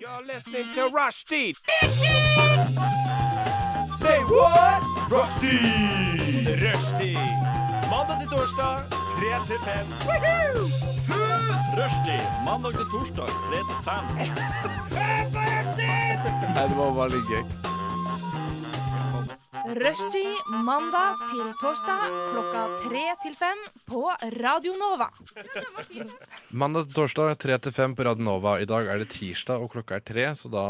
You're listening to Rushdie. Say what? Rushdie. Rushdie. Mandag til torsdag, 3 til 5. Rushdie. Mandag til torsdag, 3 til 5. Nei, det var veldig gøy. Rushtid mandag til torsdag klokka tre til fem på Radio Nova. Mandag til torsdag 3 til 5 på Radio Nova. I dag er det tirsdag, og klokka er tre, så da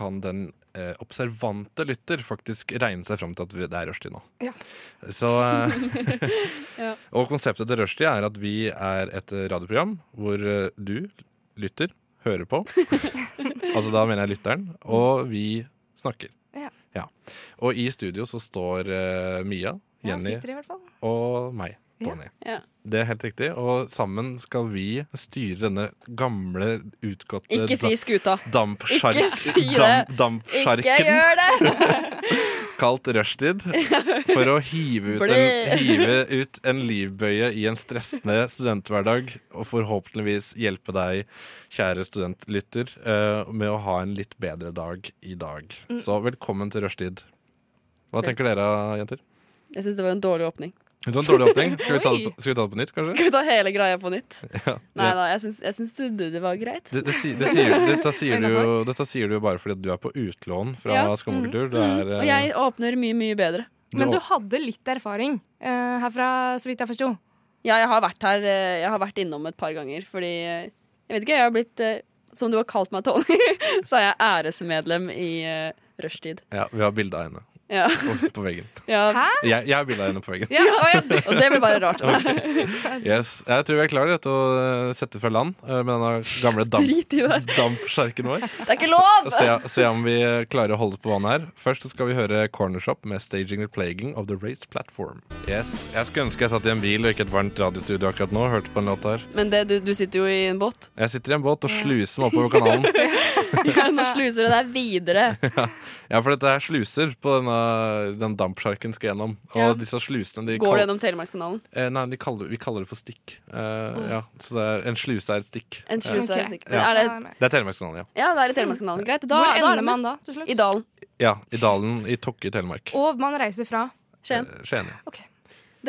kan den eh, observante lytter faktisk regne seg fram til at vi- det er rushtid nå. Ja. Så, eh, Og konseptet til rushtid er at vi er et eh, radioprogram hvor eh, du lytter, hører på. altså da mener jeg lytteren. Og vi snakker. Ja. Og i studio så står eh, Mia, Ja, Jenny sitter i hvert fall. og meg. Ja. Bonnie. Ja. Det er helt riktig. Og sammen skal vi styre denne gamle, utgåtte Ikke si skuta. da- dampsjark- Ikke si det. damp- Ikke dampsjarken, gjør det! kalt rushtid, for å hive ut, Bli. en, hive ut en livbøye i en stressende studenthverdag, og forhåpentligvis hjelpe deg, kjære studentlytter, eh, med å ha en litt bedre dag i dag. Mm. Så velkommen til rushtid. Hva tenker dere, jenter? Jeg syns det var en dårlig åpning. Det var en dårlig åpning. Skal vi ta det Oi. på, skal vi ta det på nytt, kanskje? Skal vi ta hele greia på nytt? Ja. Nei da, jeg syns, jeg syns det, det var greit. Det, det, si- det sier, dette, sier du jo, dette sier du jo bare fordi at du er på utlån fra Ja. Skummakultur. Det Mm. er, eh, Og jeg åpner mye, mye bedre. det Men du å- hadde litt erfaring eh, herfra, så vidt jeg forsto. Ja, jeg har vært her eh, Jeg har vært innom et par ganger fordi eh, Jeg vet ikke, jeg har blitt eh, Som du har kalt meg, Tony, så er jeg æresmedlem i eh, rushtid. ja, vi har bilde av henne Ja. på- på veggen. ja. Hæ? Jeg, jeg har bilde av henne på veggen. Ja, å, ja, du- Og det blir bare rart. Yes. Jeg tror vi er klare til å eh, sette fra land eh, med denne gamle Drit i det. damp, dampskjerken vår. Det er ikke lov! Se, se om vi eh, klarer å holde på vannet her. Først så skal vi høre Cornershop med 'Staging and Plaguing of the Race Platform'. Yes, Jeg skulle ønske jeg satt i en bil og ikke et varmt radiostudio akkurat nå. og Hørte på en låt her Men det, du, du sitter jo i en båt. Jeg sitter i en båt og sluser meg oppover kanalen. Nå sluser det deg videre. Ja, for dette er sluser på denne, den dampsjarken skal gjennom. Og Ja. disse slusene de Går kall- du gjennom Telemarkskanalen? eh, Nei, de kaller, vi kaller det for stikk. Eh, ja, så det er, en sluse er et stikk. En Eh, sluse Ok. er sikkert. Men Ja. er det, det er Telemarkskanalen, ja. ja, det er i Telemarkskanalen. Greit. Da, Hvor da er ender det man da, til slutt? I dalen. Ja, I Dalen i Tokke i Telemark. Og man reiser fra. Skien. Eh, Skien. ja.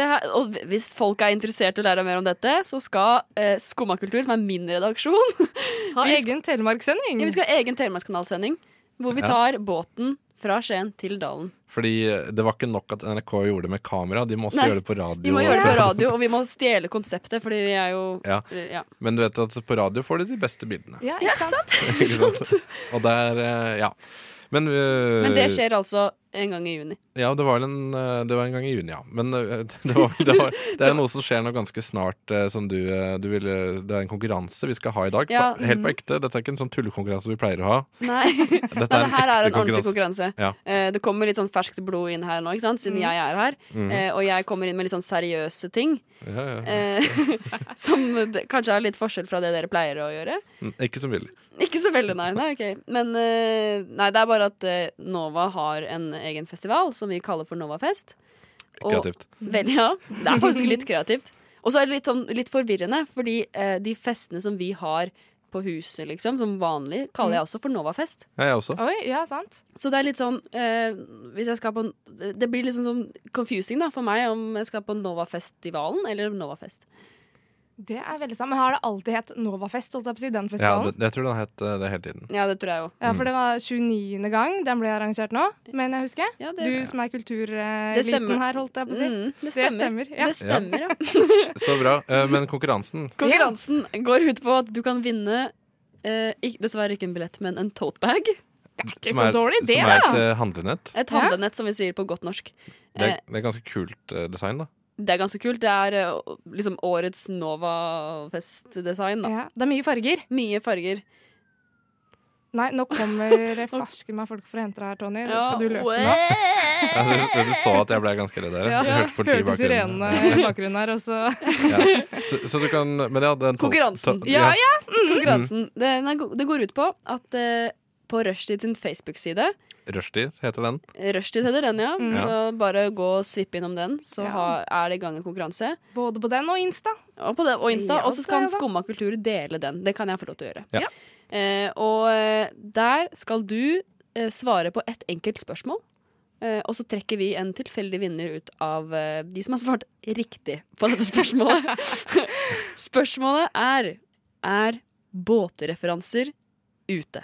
Det her, og hvis folk er interessert i å lære mer om dette, så skal eh, Skumma kultur, som er min redaksjon Ha Vi sk- egen telemarkssending. ja, Vi skal ha egen Telemarkskanalsending hvor vi Ja. tar båten fra Skien til Dalen. Fordi eh, det var ikke nok at NRK gjorde det med kamera, de må også Nei, gjøre det på radio. Vi må gjøre det på radio, og vi må stjele konseptet, fordi vi er jo eh, Ja. ja. Men du vet at på radio får de de beste bildene. Ja, ikke sant? Ikke sant? Og det er eh, Ja. Men, eh, Men det skjer altså en gang i juni. Ja, det var, vel en, eh, det var en gang i juni, ja. Men eh, det, var, det, var, det er noe som skjer nå ganske snart. eh, Som du, eh, du ville, det er en konkurranse vi skal ha i dag. Ja, på, helt på ekte. Dette er ikke en sånn tullekonkurranse vi pleier å ha. Nei, Nei Dette det her er en ordentlig konkurranse. konkurranse. Ja. Eh, det kommer litt sånn ferskt blod inn her nå, ikke sant? siden Mm. jeg er her. Mhm. Eh, og jeg kommer inn med litt sånn seriøse ting. Ja, ja, ja. Eh, som d- kanskje er litt forskjell fra det dere pleier å gjøre. Mm, Ikke som villig. Ikke så veldig, nei. nei ok. Men eh, nei, det er bare at eh, Nova har en egen festival som vi kaller for Novafest. Og- Kreativt. Vel, ja. Det er faktisk litt kreativt. Og så er det litt, sånn, litt forvirrende, fordi eh, de festene som vi har på huset, liksom, som vanlig, kaller jeg også for Novafest. Ja, jeg også. Oi, ja, sant. Så det er litt sånn eh, Hvis jeg skal på en- Det blir litt sånn sånn confusing da, for meg om jeg skal på Novafestivalen eller Novafest. Det er veldig sant. Men har det alltid hett Novafest, holdt jeg på å si, den Ja, festivalen? det, jeg tror den har hett eh, det hele tiden. Ja, det tror jeg jo. Ja, for det var 29. gang den ble arrangert nå, men jeg husker. Ja, det, Du som er Det kultureliten stemmer. her, holdt jeg på å si. Mm, det Det stemmer. stemmer. Ja. Det stemmer, ja. Så bra. Eh, Men konkurransen Konkurransen går ut på at du kan vinne eh, ikk- dessverre ikke en billett, men en totebag. Ikke så dårlig idé, som er et da. eh, handlenett. Et Ja. handlenett, som vi sier på godt norsk. Det er, Eh. det er ganske kult eh, design, da. Det er ganske kult. Det er eh, liksom årets Novafest-design. da. Ja, det er mye farger. Mye farger. Nei, nå kommer farsken meg folk for å hente deg her, Tony. Det skal du løpe nå. Ja, nå? du, du så at jeg ble ganske redd der. Ja, Jeg hørte politiet i hørte bakgrunnen. sirenene i bakgrunnen her, og så Ja. Så, så du kan Men ja, den to- Konkurransen. to- Ja, ja! Mm. Konkurransen. Det, den er go- det går ut på at eh, på Rushtid sin Facebook-side Rushdie heter den. Rushtid heter den, ja. Mm. Så bare gå og svipp innom den, så Ja. ha, er det i gang en konkurranse. Både på den og Insta. Og på det, og Insta. Ja, og så det er kan det. Skumma kultur dele den. Det kan jeg få lov til å gjøre. Ja. Eh, og eh, der skal du eh, svare på ett enkelt spørsmål. Eh, og så trekker vi en tilfeldig vinner ut av eh, de som har svart riktig på dette spørsmålet. spørsmålet er Er båtreferanser ute?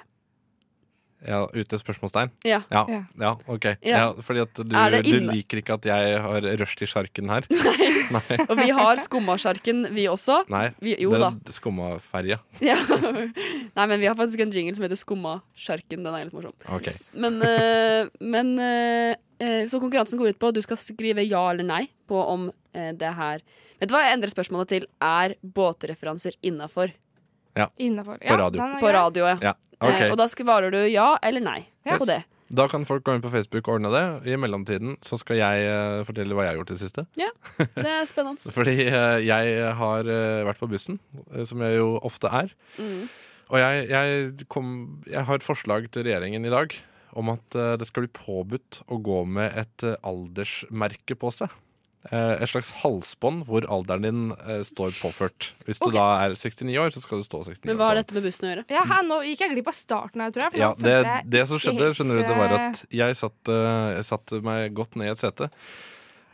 Ja, ute spørsmålstegn? Ja. Ja, Ja. ja ok. Ja, Ja. fordi at du, Er det du inne- liker ikke at jeg har rusht i sjarken her. Nei. Og vi har skummasjarken, vi også. Nei. Vi, jo det da. er skummaferja. Ja. Nei, men vi har faktisk en jingle som heter Skummasjarken. Den er litt morsom. Ok. Men, eh, men eh, eh, Så konkurransen går ut på at du skal skrive ja eller nei på om eh, det her Vet du hva, jeg endrer spørsmålet til er båtreferanser innafor Innafor. På radio. på radioet. Ja. Eh, og ok. da svarer du ja eller nei Ja. på det. Da kan folk gå inn på Facebook og ordne det. I mellomtiden så skal jeg eh, fortelle hva jeg har gjort i det siste. Det er spennende. Fordi eh, jeg har eh, vært på bussen, eh, som jeg jo ofte er. Mm. Og jeg, jeg, kom, jeg har et forslag til regjeringen i dag om at eh, det skal bli påbudt å gå med et eh, aldersmerke på seg. Eh, Et slags halsbånd hvor alderen din eh, står påført. Hvis du da er 69 år, så skal du stå 69 Men hva år. har dette med bussen å gjøre? Ja, her, nå gikk jeg glipp av starten her, tror jeg. for Ja, nå det, følte jeg det som ikke skjedde, helt, skjønner du, det var eh, at jeg satte satt meg godt ned i et sete.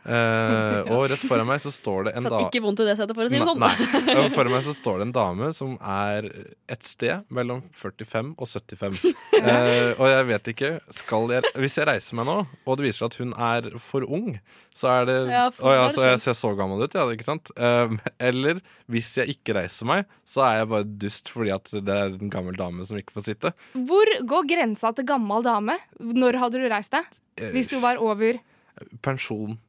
Eh, og rett foran meg så står det en Satt da... ikke vondt i det setet, for å si det sånn. Nei, nei. Og For meg så står det en dame som er et sted mellom 45 og 75. Eh, og jeg vet ikke skal jeg, Hvis jeg reiser meg nå, og det viser seg at hun er for ung, så er det Ja, for- Å ja, da er så jeg det slemt. ser så gammel ut, ja. Ikke sant? Eh, eller hvis jeg ikke reiser meg, så er jeg bare dust fordi at det er en gammel dame som ikke får sitte. eh, Hvor går grensa til gammel dame? Når hadde du reist deg? Eh, Hvis du var over Pensjon.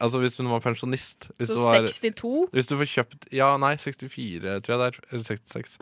Altså hvis hun var pensjonist. Hvis Så du var 62 hvis du får kjøpt Ja, nei, 64, tror jeg det er. Eller 66.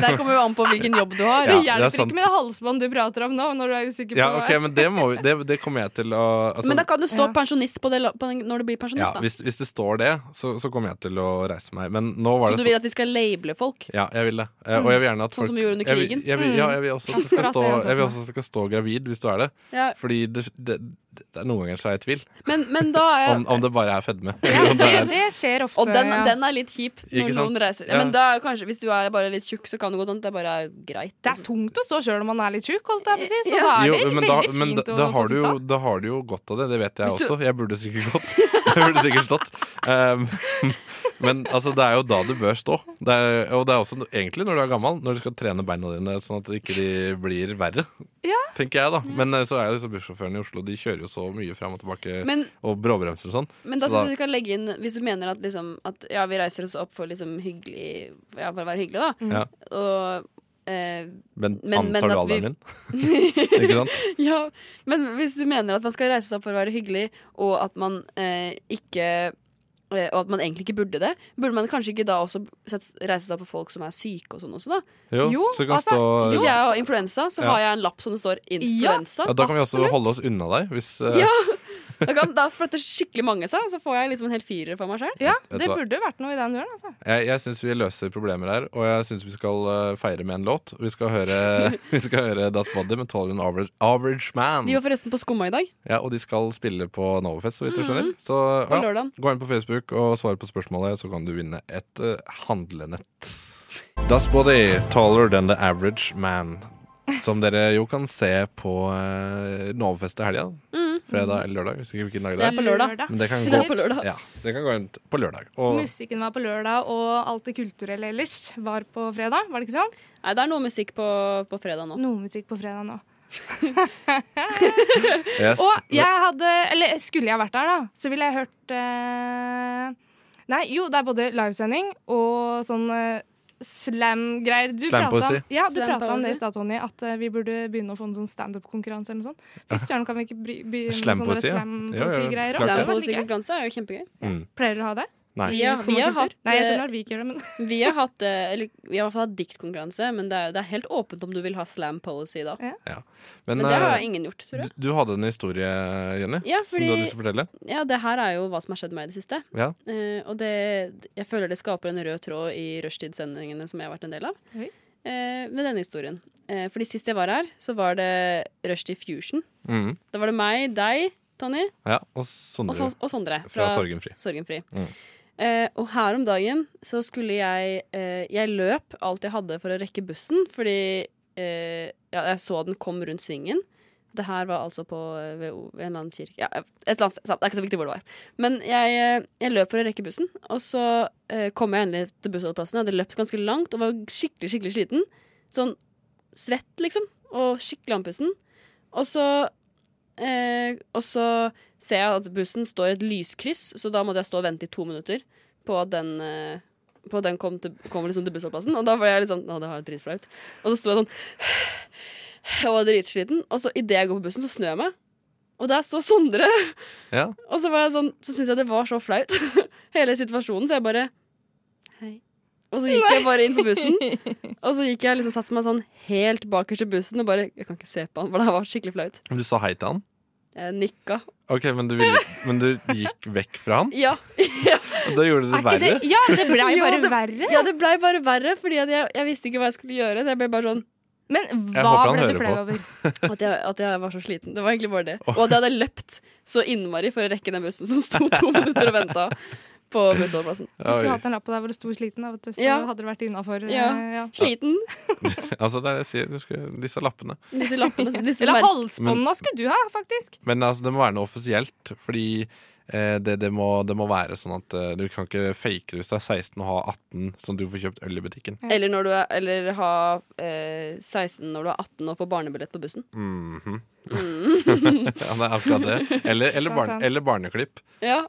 Der kommer jo an på hvilken jobb du har. Det Ja. det er hjelper sant. ikke med det halsbånd du prater om nå. Når du er usikker på Ja, ok, men det, må vi, det, det kommer jeg til å altså, Men da kan du Ja. stå pensjonist på det la- på den, når du blir ja, pensjonist, da. hvis, hvis det står det, så, så kommer jeg til å reise meg. Men nå var Så det du vil at vi skal labele folk? Ja, jeg vil det. Eh, Og jeg vil gjerne at Sånn folk som vi gjorde under krigen? altså, Jeg vil, jeg vil, ja, jeg vil også at det skal Akkurat det stå, jeg så for jeg vil meg. også at det skal stå gravid hvis du er det. Ja. Fordi det, det, det er noen ganger så er jeg i tvil Men, men da er om, om det bare er fedme. Ja, Om det det, er- det skjer ofte. Og den, ja. den er litt kjip når Ikke sant? noen reiser. Ja. Men da er kanskje, hvis du er bare litt tjukk, så kan det gå sånn at det bare er greit. altså. Det er tungt å stå sjøl om man er litt tjukk, holdt jeg på å si. Så Ja. da er det Jo, men da, veldig men da, fint å da få har du jo, sitte. da har du jo godt av det, det vet jeg Hvis du- også. Jeg burde sikkert gått. Jeg burde sikkert stått. Um, men altså, det er jo da du bør stå. Det er, og det er også no- egentlig når du er gammel, når du skal trene beina dine sånn at de ikke de blir verre. Ja. Tenker jeg, da. Men eh, så er jo så bussjåførene i Oslo, de kjører jo så mye fram og tilbake. Men, og bråbremser og sånn. men da Så da- syns jeg du kan legge inn, hvis du mener at, liksom, at ja, vi reiser oss opp for, liksom, hyggelig, ja, for å være hyggelig, da. Ja. Og eh, Men, Men- men antar du at vi- alderen min? ikke sant? ja, men hvis du mener at man skal reise seg opp for å være hyggelig, og at man eh, ikke eh, og at man egentlig ikke burde det. Burde man kanskje ikke da også sett- reise seg opp for folk som er syke og sånn også, da? Jo, Jo, så kan altså, stå Hvis jeg har influensa, så Ja. har jeg en lapp som det står 'influensa'. ja, Da kan vi også absolutt. holde oss unna deg, hvis eh, Ja. Da, kan, da flytter skikkelig mange seg, så får jeg liksom en hel firer for meg sjøl. Ja, Vet du det hva? burde vært noe i den duren, altså. Jeg, jeg syns vi løser problemer her, og jeg syns vi skal eh, feire med en låt. Og vi skal høre, vi skal høre Das Body med Taller Than Average, Average Man. De var forresten på Skumma i dag, Ja, og de skal spille på Novafest, så vidt jeg skjønner. Så ja, på lørdagen gå inn på Facebook og svar på spørsmålet, så kan du vinne et eh, handlenett. Das Body, Taller Than The Average Man. Som dere jo kan se på uh, Novafest i helga. Fredag eller lørdag. Husker ikke hvilken dag det Det er. på lørdag. Men det kan Det gå, er på lørdag. Ja, det kan gå inn på lørdag. Og Musikken var på lørdag, og alt det kulturelle ellers var på fredag. Var det ikke sånn? Nei, det er noe musikk på, på fredag nå. Noe musikk på fredag nå. yes. Og jeg hadde, eller skulle jeg vært der, da, så ville jeg hørt eh, Nei, jo, det er både livesending og sånn eh, slam-greier. Du pratet Slampoesi. om- Ja, du Slampoesi. prata om det i stad, Tony, at eh, vi burde begynne å få en sånn standup-konkurranse eller noe sånt. Fy søren, kan vi ikke bry- begynne med sånne Slampoesi, ja. Ja, ja, slampoesi-greier? klart Det det. er på musikkonkurranse, er jo kjempegøy. Mm. Pleier dere å ha det? Nei. Ja, I vi har skolekultur? hatt, Nei, jeg eh, skjønner at vi ikke gjør det, men Vi har hatt, eh, eller vi har i hvert fall hatt diktkonkurranse, men det er, det er helt åpent om du vil ha slam policy da. Men, Men det eh, har ingen gjort, tror jeg. Du, du hadde en historie, Jenny, Ja, som du hadde lyst fordi til å fortelle? ja, det her er jo hva som har skjedd meg i det siste. Ja. Eh, og det, jeg føler det skaper en rød tråd i rushtidssendingene som jeg har vært en del av. Oi. Eh, med denne historien. Eh, fordi sist jeg var her, så var det Rushtid Fusion. Mhm. Da var det meg, deg, Tony ja og og, Sondre så, og Sondre fra Sorgenfri. Sorgenfri. Eh, og her om dagen så skulle jeg eh, Jeg løp alt jeg hadde for å rekke bussen, fordi eh, ja, jeg så den kom rundt svingen. Det her var altså på eh, ved, O- ved en eller annen kirke ja, Et eller annet sted. samt, Det er ikke så viktig hvor det var. Men jeg, eh, jeg løp for å rekke bussen, og så eh, kom jeg endelig til bussholdeplassen. Jeg hadde løpt ganske langt og var skikkelig skikkelig sliten. Sånn svett, liksom. Og skikkelig andpusten. Og så eh, Og så ser jeg at bussen står i et lyskryss, så da måtte jeg stå og vente i to minutter på at den, eh, på at den kom, til, kom liksom til bussholdeplassen. Og da var jeg litt sånn Å, det var jo dritflaut. Og så sto jeg sånn og var dritsliten. Og så idet jeg går på bussen, så snør jeg meg. Og der står Sondre. Ja. Og så, var jeg sånn, så syntes jeg det var så flaut, hele situasjonen, så jeg bare Hei. Og så gikk jeg bare inn på bussen. Og så gikk jeg liksom satte meg sånn helt bakerst i bussen og bare Jeg kan ikke se på han, for det her var skikkelig flaut. Men Du sa hei til han? Jeg nikka. Ok, men du, ville, men du gikk vekk fra han? Ja. Og da gjorde du det Er ikke det, verre? ja, det ble jo Ja, bare det- verre. ja, det blei bare verre, Fordi at jeg, jeg visste ikke hva jeg skulle gjøre. Så jeg ble bare sånn Men Jeg hva håper han ble du hører flau på. over? at jeg, at jeg var så sliten. Det var egentlig bare det. Og at jeg hadde løpt så innmari for å rekke den bussen som sto to minutter og venta på bussholdeplassen. Du skulle Oi. hatt en lapp på deg hvor det sto 'sliten', da, vet du, så Ja. hadde det vært innafor. Eh, Ja. Sliten. Altså, det er det jeg sier. Du skulle, disse lappene. Disse lappene. Disse Eller mer- halsbånda skulle du ha, faktisk. Men altså, det må være noe offisielt, fordi eh, det, det, må, det må være sånn at eh, du kan ikke fake det hvis du er 16 og har 18, sånn at du får kjøpt øl i butikken. Eller når du er eller ha eh, 16 når du er 18 og får barnebillett på bussen. Mhm. ja, det er akkurat det. Eller, eller, barn, Sant, sant. eller barneklipp. Ja.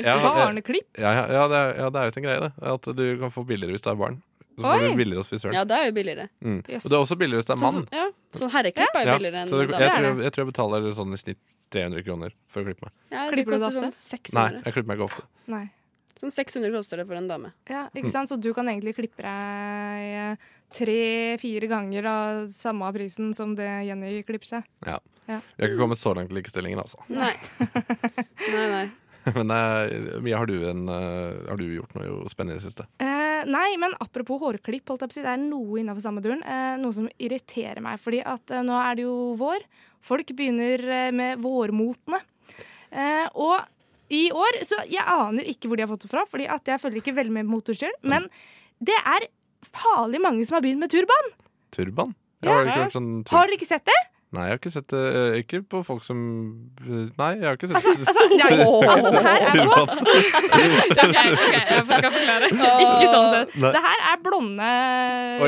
Ja, eh, Barneklipp. ja, ja, ja, det er, ja, det er jo en greie, det. At du kan få billigere hvis du er barn. Så får Oi. du billigere hos frisøren. ja, det er jo billigere. Mm. Jøss. Og det er også billigere hvis det er Sånn, mann. som- ja. sånn herreklipp er jo Ja, billigere enn så det, dame. jeg, er tror, det. jeg tror jeg betaler sånn i snitt 300 kroner for å klippe meg. Ja, det Klipper du koster det sånn ofte? 600. Nei, jeg klipper meg ikke ofte. Nei. Sånn 600 koster det for en dame. Ja, ikke sant? Så du kan egentlig klippe deg tre-fire ganger av samme prisen som det Jenny klipper seg. Vi har ikke kommet så langt i likestillingen, altså. Nei. nei, nei. Men eh, Mia, har du, en, eh, har du gjort noe jo spennende i det siste? Eh, nei, men apropos hårklipp, holdt jeg på å si, det er noe innafor samme duren. Eh, noe som irriterer meg, fordi at eh, nå er det jo vår. Folk begynner eh, med vårmotene. Eh, og i år Så jeg aner ikke hvor de har fått det fra, fordi at jeg følger ikke veldig med på motorsykkel. Men det er farlig mange som har begynt med turban. Turban? Ja. Ja, har det ikke vært sånn tur Har dere ikke sett det? Nei, jeg har ikke sett det. eh, Ikke på folk som Nei, jeg har ikke sett det. Altså, det er, altså det her er på. turban. Ok, ok, jeg skal forklare. Ikke sånn sett. Det her er blonde,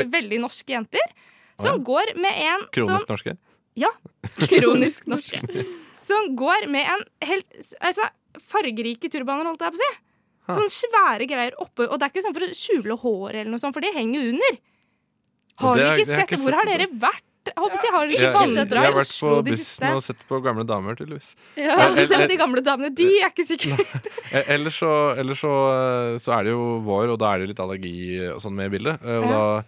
Oi. veldig norske jenter som Å, ja. går med en sånn Kronisk norske? kronisk norske. Som går med en helt altså, fargerike turbaner, holdt jeg på å si. Ha. Sånne svære greier oppe, og det er ikke sånn for å skjule håret eller noe sånt, for det henger jo under. Har Det dere er- ikke det sett har jeg det? ikke Hvor har sett. dere vært? Jeg håper å si, har Jeg, dere ikke jeg, sett jeg dere har i vært på Oslo de siste? bussen og sett på gamle damer, tydeligvis. Ja. Jeg har ikke eller- sett de gamle damene. De er ikke sikre. Eh, Ellers, så, ellers så, eh, så er det jo vår, og da er det jo litt allergi og sånn med i bildet. Eh, Og da,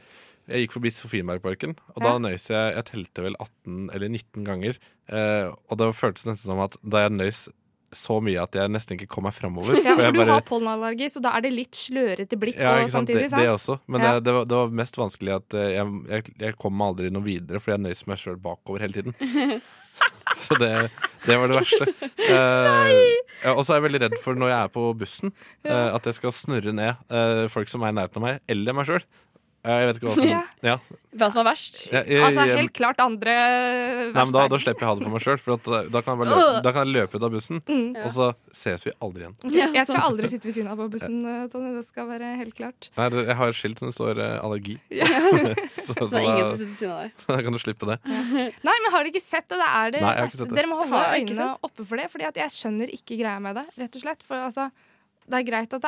jeg gikk forbi Sofienbergparken, og da Ja. nøys jeg Jeg telte vel 18 eller 19 ganger. eh, Og det føltes nesten som at da jeg nøys så mye at jeg nesten ikke kom meg framover. Ja, jeg for du har pollenallergi, så da er det litt slørete blikk ja, og ikke sant? samtidig, det, sant? det også. Men Ja. eh, det, var, det var mest vanskelig at eh, jeg, jeg, jeg kom meg aldri noe videre, fordi jeg nøys meg sjøl bakover hele tiden. Så det, det var det verste. Eh, ja, og så er jeg veldig redd for når jeg er på bussen, eh, at jeg skal snurre ned eh, folk som er i nærheten av meg, eller meg sjøl. jeg vet ikke hva som Ja. ja. Hva som er verst? Jeg- jeg- Altså jeg- helt klart andre Nei, men da, da slipper jeg ha det på meg sjøl, for at, eh, da- da, kan jeg bare løpe, da kan jeg løpe ut av bussen. Mm. Og så ses vi aldri igjen. Jeg skal aldri sitte ved siden av på bussen, Tonje. Det skal være helt klart. Nei, jeg har et skilt som det står eh, allergi. så så Det er ingen som da, sitter ved siden av deg. da kan du slippe det. Nei, men har dere ikke sett det? Det er det Nei, jeg har ikke verste. sett det. Dere må holde Har jeg ikke øynene oppe for det, Fordi at jeg skjønner ikke greia med det, rett og slett. For altså, det er greit at det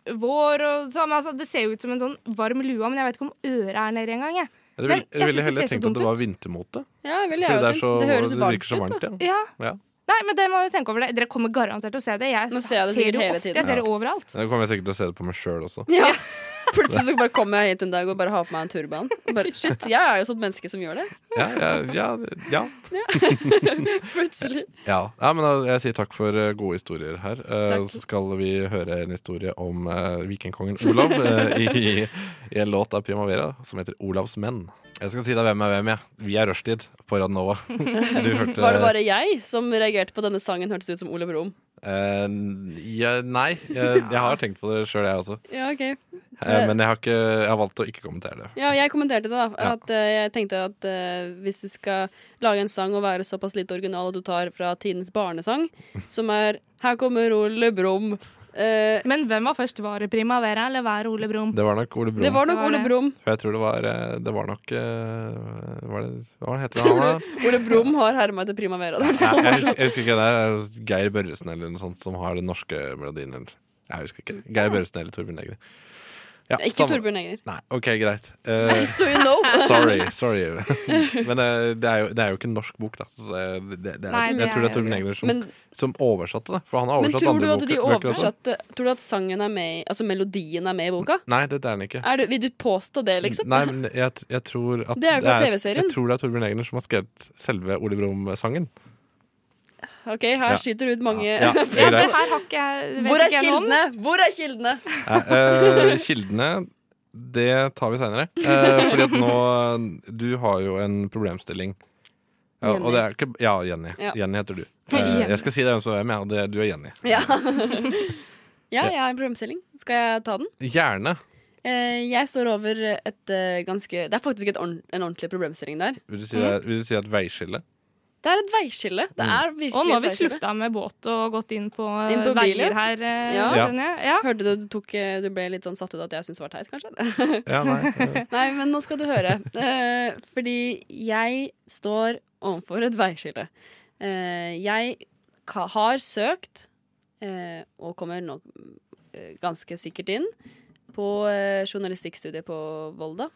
er vår og sånn, men altså, det ser jo ut som en sånn varm lue, men jeg vet ikke om øret er nedi engang, jeg. Ja, Men Du ville, jeg du ville synes det heller ser så tenkt dumt at det var ut. vintermote. Ja, jeg ville Fordi jeg det, er jo tenkt. så, Det høres det virker så varmt ut. varmt, da. ja. Ja. Ja. Nei, men dere må jo tenke over det. Dere kommer garantert til å se det. Jeg Nå ser jeg det sikkert jo hele ofte. tiden. Jeg ser det overalt. Så Da kommer jeg sikkert til å se det på meg sjøl også. Ja. Plutselig så bare kommer jeg hit en dag og bare har på meg en turban. Og Bare, shit, jeg er jo sånn menneske som gjør det. Ja, ja, ja, ja. Plutselig. ja. ja men da, jeg sier takk for eh, gode historier her. Eh, Takk. så skal vi høre en historie om eh, vikingkongen Olav eh, i, i en låt av Primavera som heter 'Olavs menn'. Jeg skal si deg hvem er hvem, jeg. Vi er rushtid på Radnova. Du hørte Var det bare jeg som reagerte på denne sangen hørtes ut som Olav Rom? Eh, jeg, nei, eh, jeg, jeg har tenkt på det sjøl, jeg også. Ja, ok. Eh, men jeg har, ikke, jeg har valgt å ikke kommentere det. Ja, jeg kommenterte det, da. Ja. At eh, jeg tenkte at eh, hvis du skal lage en sang og være såpass lite original at du tar fra tidenes barnesang, som er 'Her kommer Ole Brumm'. eh, Men hvem var først? Var det Primavera eller var det Ole Brumm? Det var nok Ole Brumm. det var nok Det var Ole det. Brumm. For jeg tror det var eh, Det var nok eh, Hva, er det, hva heter han da? Ole Brumm har herma etter Primavera. Det var Nei, sånn. jeg, husker, jeg husker ikke det er Geir Børresen eller noe sånt som har den norske melodien. Eller. Jeg husker ikke. Geir Børresen eller Torbjørn Egner. Ja, Ikke samme- Torbjørn Egner. Nei, OK, greit. Eh, So you know. sorry. sorry. Men eh, det, er jo, det er jo ikke en norsk bok, da. Så det, det, det er, Nei, det er jeg tror det er jo Torbjørn Egner som, Men, som oversatte det. For han har men oversatt tror du andre at de boker- bøker også. oversatte Tror du at sangen er med i Altså melodien er med i boka? Nei, det er han ikke. Er du, vil du påstå det, liksom? Nei, men jeg, t- jeg tror at Det er jo fra TV-serien. Jeg tror det er Torbjørn Egner som har skrevet selve Ole Brumm-sangen. OK, her Ja. skyter du ut mange Ja, det Ja, er det greit. her har ikke jeg vet Hvor er ikke jeg noe om. kildene? Hvor er kildene? Nei, eh, kildene, det tar vi seinere. Uh, fordi at nå Du har jo en problemstilling. Ja, og det er ikke, ja Jenny. Ja. Jenny heter du. Hei, Eh, Jenny. jeg skal si deg hvem som er hvem, ja, og det- du er Jenny. Ja. ja, jeg har en problemstilling. Skal jeg ta den? Gjerne. Eh, Jeg står over et eh, ganske Det er faktisk et ordn- en ordentlig problemstilling der. Vil du si, det er- vil du si et veiskille? Det er et veiskille. Det Mm. er virkelig Og nå har et vi veiskille. slutta med båt og gått inn på, Inn på veier bilen. her, eh, Ja. Ja. skjønner jeg. Ja. Hørte du du, tok, eh, du ble litt sånn satt ut at jeg syntes det var teit, kanskje? Ja, nei. eh, Nei, men nå skal du høre. Eh, fordi jeg står overfor et veiskille. Eh, jeg ka har søkt, eh, og kommer nok eh, ganske sikkert inn, på eh, journalistikkstudiet på Volda.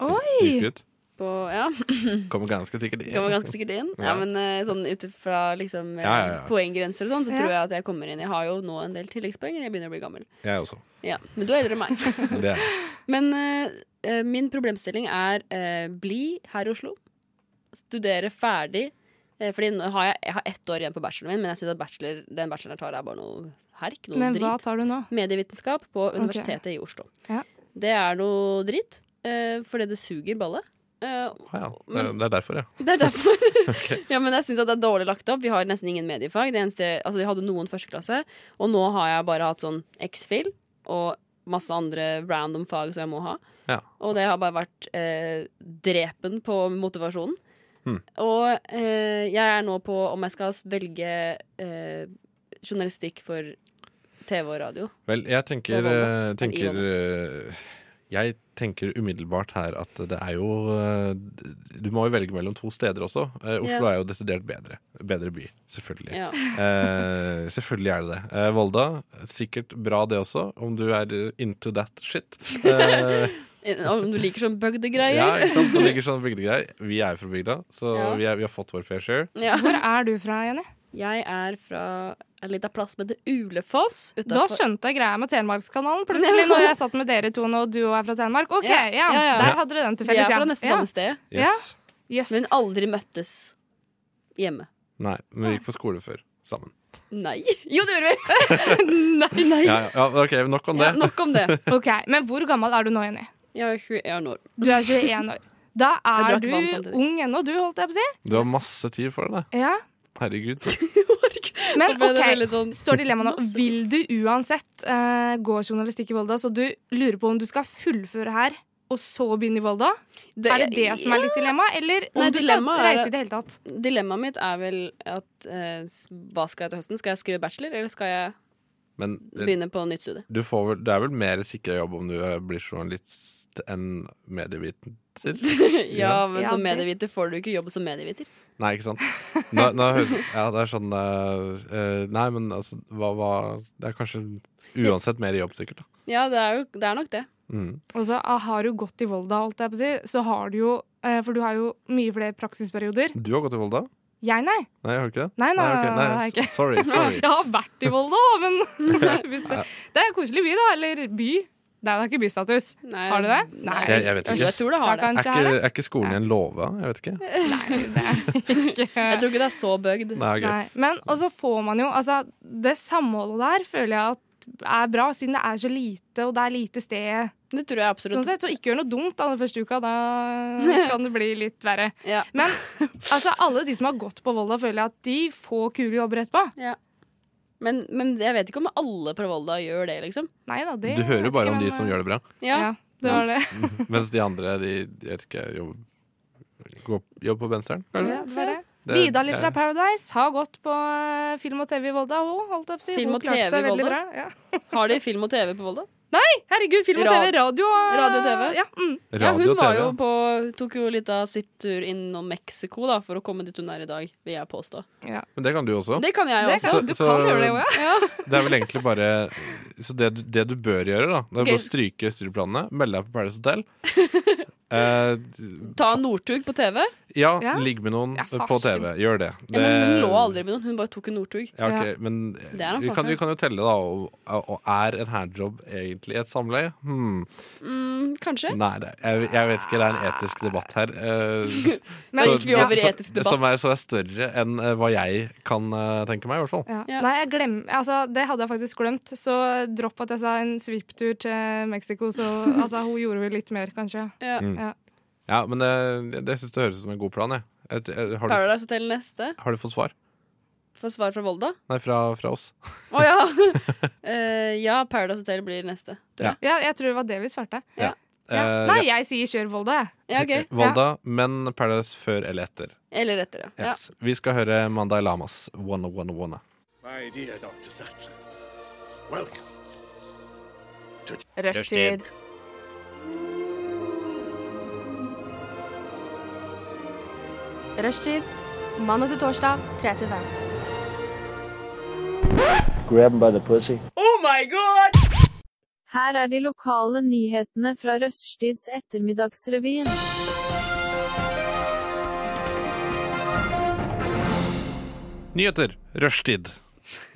Sniker Oi! ut. På, ja, Kommer ganske sikkert inn. kommer ganske sikkert inn. Ja, Ja. men eh, sånn ut fra liksom, eh, Ja, ja, ja. poenggrenser og sånn, så Ja. tror jeg at jeg kommer inn. Jeg har jo nå en del tilleggspoeng, jeg begynner å bli gammel. Jeg også. Ja, Men du er eldre enn meg. Det er jeg. Men eh, eh, min problemstilling er eh, bli her i Oslo. Studere ferdig. Eh, fordi nå har jeg, jeg har ett år igjen på bacheloren min, men jeg synes at bachelor, den bacheloren jeg tar, er bare noe herk. Noe Men drit. hva tar du nå? Medievitenskap på Universitetet i Oslo. Ja. Det er noe drit, eh, fordi det suger balle. Eh, Å ja. det, er- det er derfor, ja. det er derfor. ja, men jeg syns det er dårlig lagt opp. Vi har nesten ingen mediefag. Det eneste, altså, vi hadde noen førsteklasse, og nå har jeg bare hatt sånn X-fil og masse andre random fag som jeg må ha. Ja. Og det har bare vært eh, drepen på motivasjonen. Hmm. Og eh, jeg er nå på om jeg skal velge eh, journalistikk for TV og radio. Vel, jeg tenker, Det er eh, Volda. Det er i tenker eh, Jeg tenker umiddelbart her at det er jo eh, Du må jo velge mellom to steder også. Eh, Oslo Ja. er jo desidert bedre. Bedre by, selvfølgelig. Ja. Eh, selvfølgelig er det det. Eh, Volda, sikkert bra det også, om du er into that shit. Eh, Om du liker sånn ja, bøgdegreier. ikke sant? Det ligger sånne bygdegreier. Vi er jo fra bygda, så Ja. vi, er, vi har fått vår fair share. Ja. Hvor er du fra, Jenny? Jeg er fra en liten plass som heter Ulefoss. Da utenfor- skjønte jeg greia med Telemarkskanalen plutselig, når jeg satt med dere to nå, og du òg er fra Telemark. OK, Ja, ja. ja, ja. Der hadde du den til Vi felles, er fra nesten ja. samme sted, Ja. Yes. Jøss. men aldri møttes hjemme. Nei, men vi gikk på skole før sammen. Nei. Jo, det gjorde vi! nei, nei. Ja, ja, ja, OK, nok om det. Ja, nok om det. OK. Men hvor gammel er du nå, Jenny? Jeg er 21 år. Du er 21 år. Da Jeg er drakk du vann samtidig. ung ennå, du, holdt jeg på å si. Du har masse tid for det. Ja. Herregud. Men Da ble det OK. veldig sånn- Står dilemmaet nå. Vil du uansett eh, gå journalistikk i Volda, så du lurer på om du skal fullføre her og så begynne i Volda? Er det det som er litt dilemma, eller om Nei, du skal dilemma er reise det- i det hele tatt? Dilemmaet mitt er vel at eh, s- hva skal jeg til høsten? Skal jeg skrive bachelor, eller skal jeg Men begynne på nytt studie? du får vel, det er vel mer sikra jobb om du eh, blir journalist enn medieviter? ja, men Ja, som det- medieviter får du ikke jobb som medieviter. Nei, ikke sant? Nå, nå høres, ja, det er sånn eh, eh, Nei, men altså hva, hva Det er kanskje uansett mer jobb, sikkert. da Ja, det er, jo, det er nok det. mm. Og så ah, har du gått i Volda, holdt jeg på å si, så har du jo eh, For du har jo mye flere praksisperioder. Du har gått i Volda? Jeg, nei. Nei, har du ikke det? Nei, nei, ok, nei, nei, nei, nei, ikke. s- Sorry. sorry Jeg har vært i Volda, da, men hvis det, det er en koselig by, da. Eller by. Det er da ikke bystatus. Eh, Nei, Har du det? Nei. Jeg- jeg vet ikke. Jo, jeg tror det Da har det. er, kanskje ikke, er det. er ikke skolen en låve? Jeg vet Eh, ikke. Jeg tror ikke det er så bøgd. Nei, ok. Nei. Men og så får man jo Altså, det samholdet der føler jeg at er bra, siden det er så lite, og det er lite sted. Det tror jeg Sånn absolutt. sett, så ikke gjør noe dumt da, den første uka. Da kan det bli litt verre. Ja. Men altså, alle de som har gått på Volda, føler jeg at de får kule jobber etterpå. Men, men jeg vet ikke om alle på Volda gjør det, liksom. Nei da, det Du hører jo bare om de som gjør det bra, Ja, Ja, det var det. mens de andre, de, de vet ikke, jobber går- jobber på Benseren, kanskje? Ja, det, var det. Det- Vidar det- fra Paradise har gått på eh, film og TV i Volda. Hun holdt opp si. Film Hun og klarte TV i seg veldig Volda? bra. Ja. Har de film og TV på Volda? Herregud, film og Ra- TV, radio og Radio og TV? Ja, mm. Ja, hun Radio og var TV. jo på Hun tok jo litt av svipptur innom Mexico da, for å komme dit hun er i dag, vil jeg påstå. Men det kan du også. Det kan jeg Det også. kan, Så- du så- kan gjøre det òg, ja. Det er vel egentlig bare Så det, du- det du bør gjøre, da, det er Ok. bare å stryke studieplanene, melde deg på Paradise Hotel. Eh, Ta en Northug på TV. ja, Ja. ligg med noen Ja, på farsken. TV. Gjør det. det Ja, men hun lå aldri med noen, hun bare tok en Northug. Ja, ok, Men er en vi kan, forskjell. vi kan jo telle, da. Og, og er en handjob egentlig et samleie? Hmm. Mm, kanskje. Nei, det, jeg, jeg vet ikke. Det er en etisk debatt her. eh, Men så- gikk vi over i så- etisk debatt? Som er, så er større enn eh, hva jeg kan eh, tenke meg, i hvert fall. Ja. Ja. Nei, jeg glem, altså, det hadde jeg faktisk glemt. Så dropp at jeg sa en sviptur til Mexico. Så altså, hun gjorde vel litt mer, kanskje. Ja. Mm. Ja. Ja, men eh, det, det syns det høres ut som en god plan, jeg. Jeg- jeg- Har du, Paradise Hotel neste. har du fått svar? Få svar fra Volda. Nei, fra, fra oss. Å ja! Eh, ja, Paradise Hotel blir neste. Tror jeg. ja, jeg tror det var det vi svarte. Ja. Eh, Nei, jeg sier kjør Volda, jeg. Ja, ok. Volda, men Paradise før eller etter. Eller etter, ja. ja. Yes. Vi skal høre Mandai Lamas oh Wanna Wanna Wanna. My dear Dr. Sattler, welcome. Rushtid. Rushtid. Mandag til torsdag, 3 til 5. grab him by the pussy. Her er de lokale nyhetene fra Røststids ettermiddagsrevyen. Nyheter. Rushtid.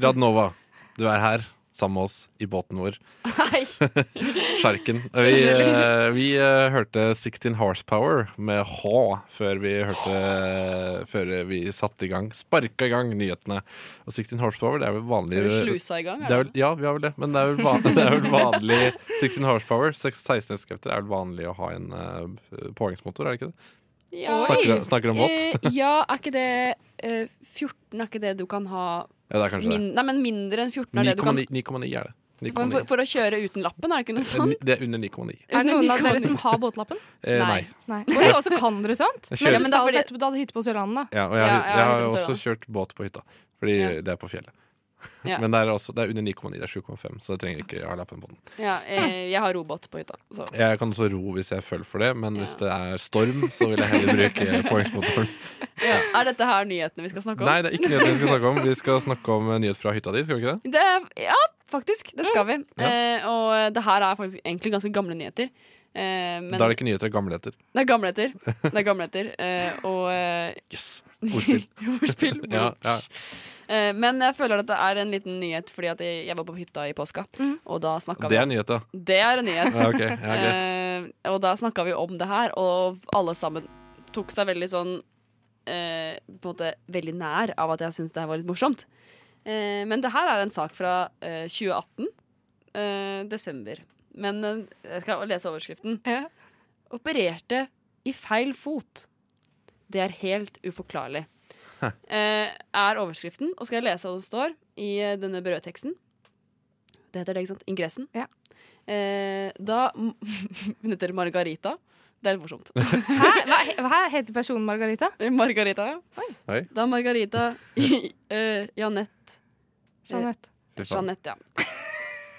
Radnova, du er her sammen med oss i båten vår. Sjarken. Vi, eh, vi eh, hørte 16 Horsepower med H før vi hørte Før vi satte i gang. Sparka i gang nyhetene. Og 16 Horsepower, det er vel vanlig Har du slusa i gang? det er vel, ja, vi har vel det, men det er vel, van, det er vel vanlig 16 horsepower. seks- 16 hestekrefter er vel vanlig å ha en eh, påhengsmotor, er det ikke det? Ja. Oi. Snakker, snakker om båt? Eh, ja, er ikke det eh, 14 er ikke det du kan ha Ja, det er kanskje det. min, Nei, men mindre enn 14 er det du kan 9,9 9,9 er det. for, 9,9. for, sånn? for å kjøre uten lappen, er det ikke noe sånt? Eh, Det er under 9,9. Er det noen av dere Under som har båtlappen? Eh, nei. Nei. Nei. Og jeg også kan dere sånt? Jeg Men kjører- Ja, du men sa da det fordi- etterpå du hadde hytte på Sørlandet. Ja, og jeg, Ja, jeg, jeg har har hørt om også Sørlandet. kjørt båt på hytta, fordi Ja. det er på fjellet. Ja. Men det er, også, det er under 9,9. Det er 7,5, så jeg trenger ikke ha lappen på den. Ja, eh, jeg har robåt på hytta. Så. Jeg kan også ro hvis jeg føler for det, men hvis det er storm, så vil jeg heller bruke påhengsmotoren. Er dette her nyhetene vi skal snakke om? Nei, det er ikke nyheter vi skal snakke om. Vi skal snakke om eh, nyhet fra hytta di, skal vi ikke det? Det er, ja, faktisk. Det skal vi. Ja. Eh, og det her er faktisk egentlig ganske gamle nyheter. Eh, men da er det ikke nyheter, gamleheter. det er gamle nyheter. Det er gamle nyheter. Eh, og eh, Yes! Ordspill. ordspill. Ja, ja. Eh, men jeg føler at det er en liten nyhet, fordi at jeg, jeg var på hytta i påska. Og da Mhm. snakka Det vi er nyhet, ja. Det er en nyhet. ja ok, ja, greit. Eh, og da snakka vi om det her, og alle sammen tok seg veldig sånn eh, På en måte veldig nær av at jeg syntes det her var litt morsomt. Eh, men det her er en sak fra eh, 2018. Eh, desember. Men eh, jeg skal lese overskriften. Ja. Opererte i feil fot. Det er helt uforklarlig. Eh, er overskriften. Og skal jeg lese hva det står i eh, denne brødteksten? Det heter det, ikke sant? Ingressen. Ja. Eh, da Hun heter Margarita. Det er litt morsomt. Hæ? Hva, he- hva heter personen Margarita? Margarita, ja. Oi. Da Margarita eh, Janette Jeanette. Fy faen. Janette, ja.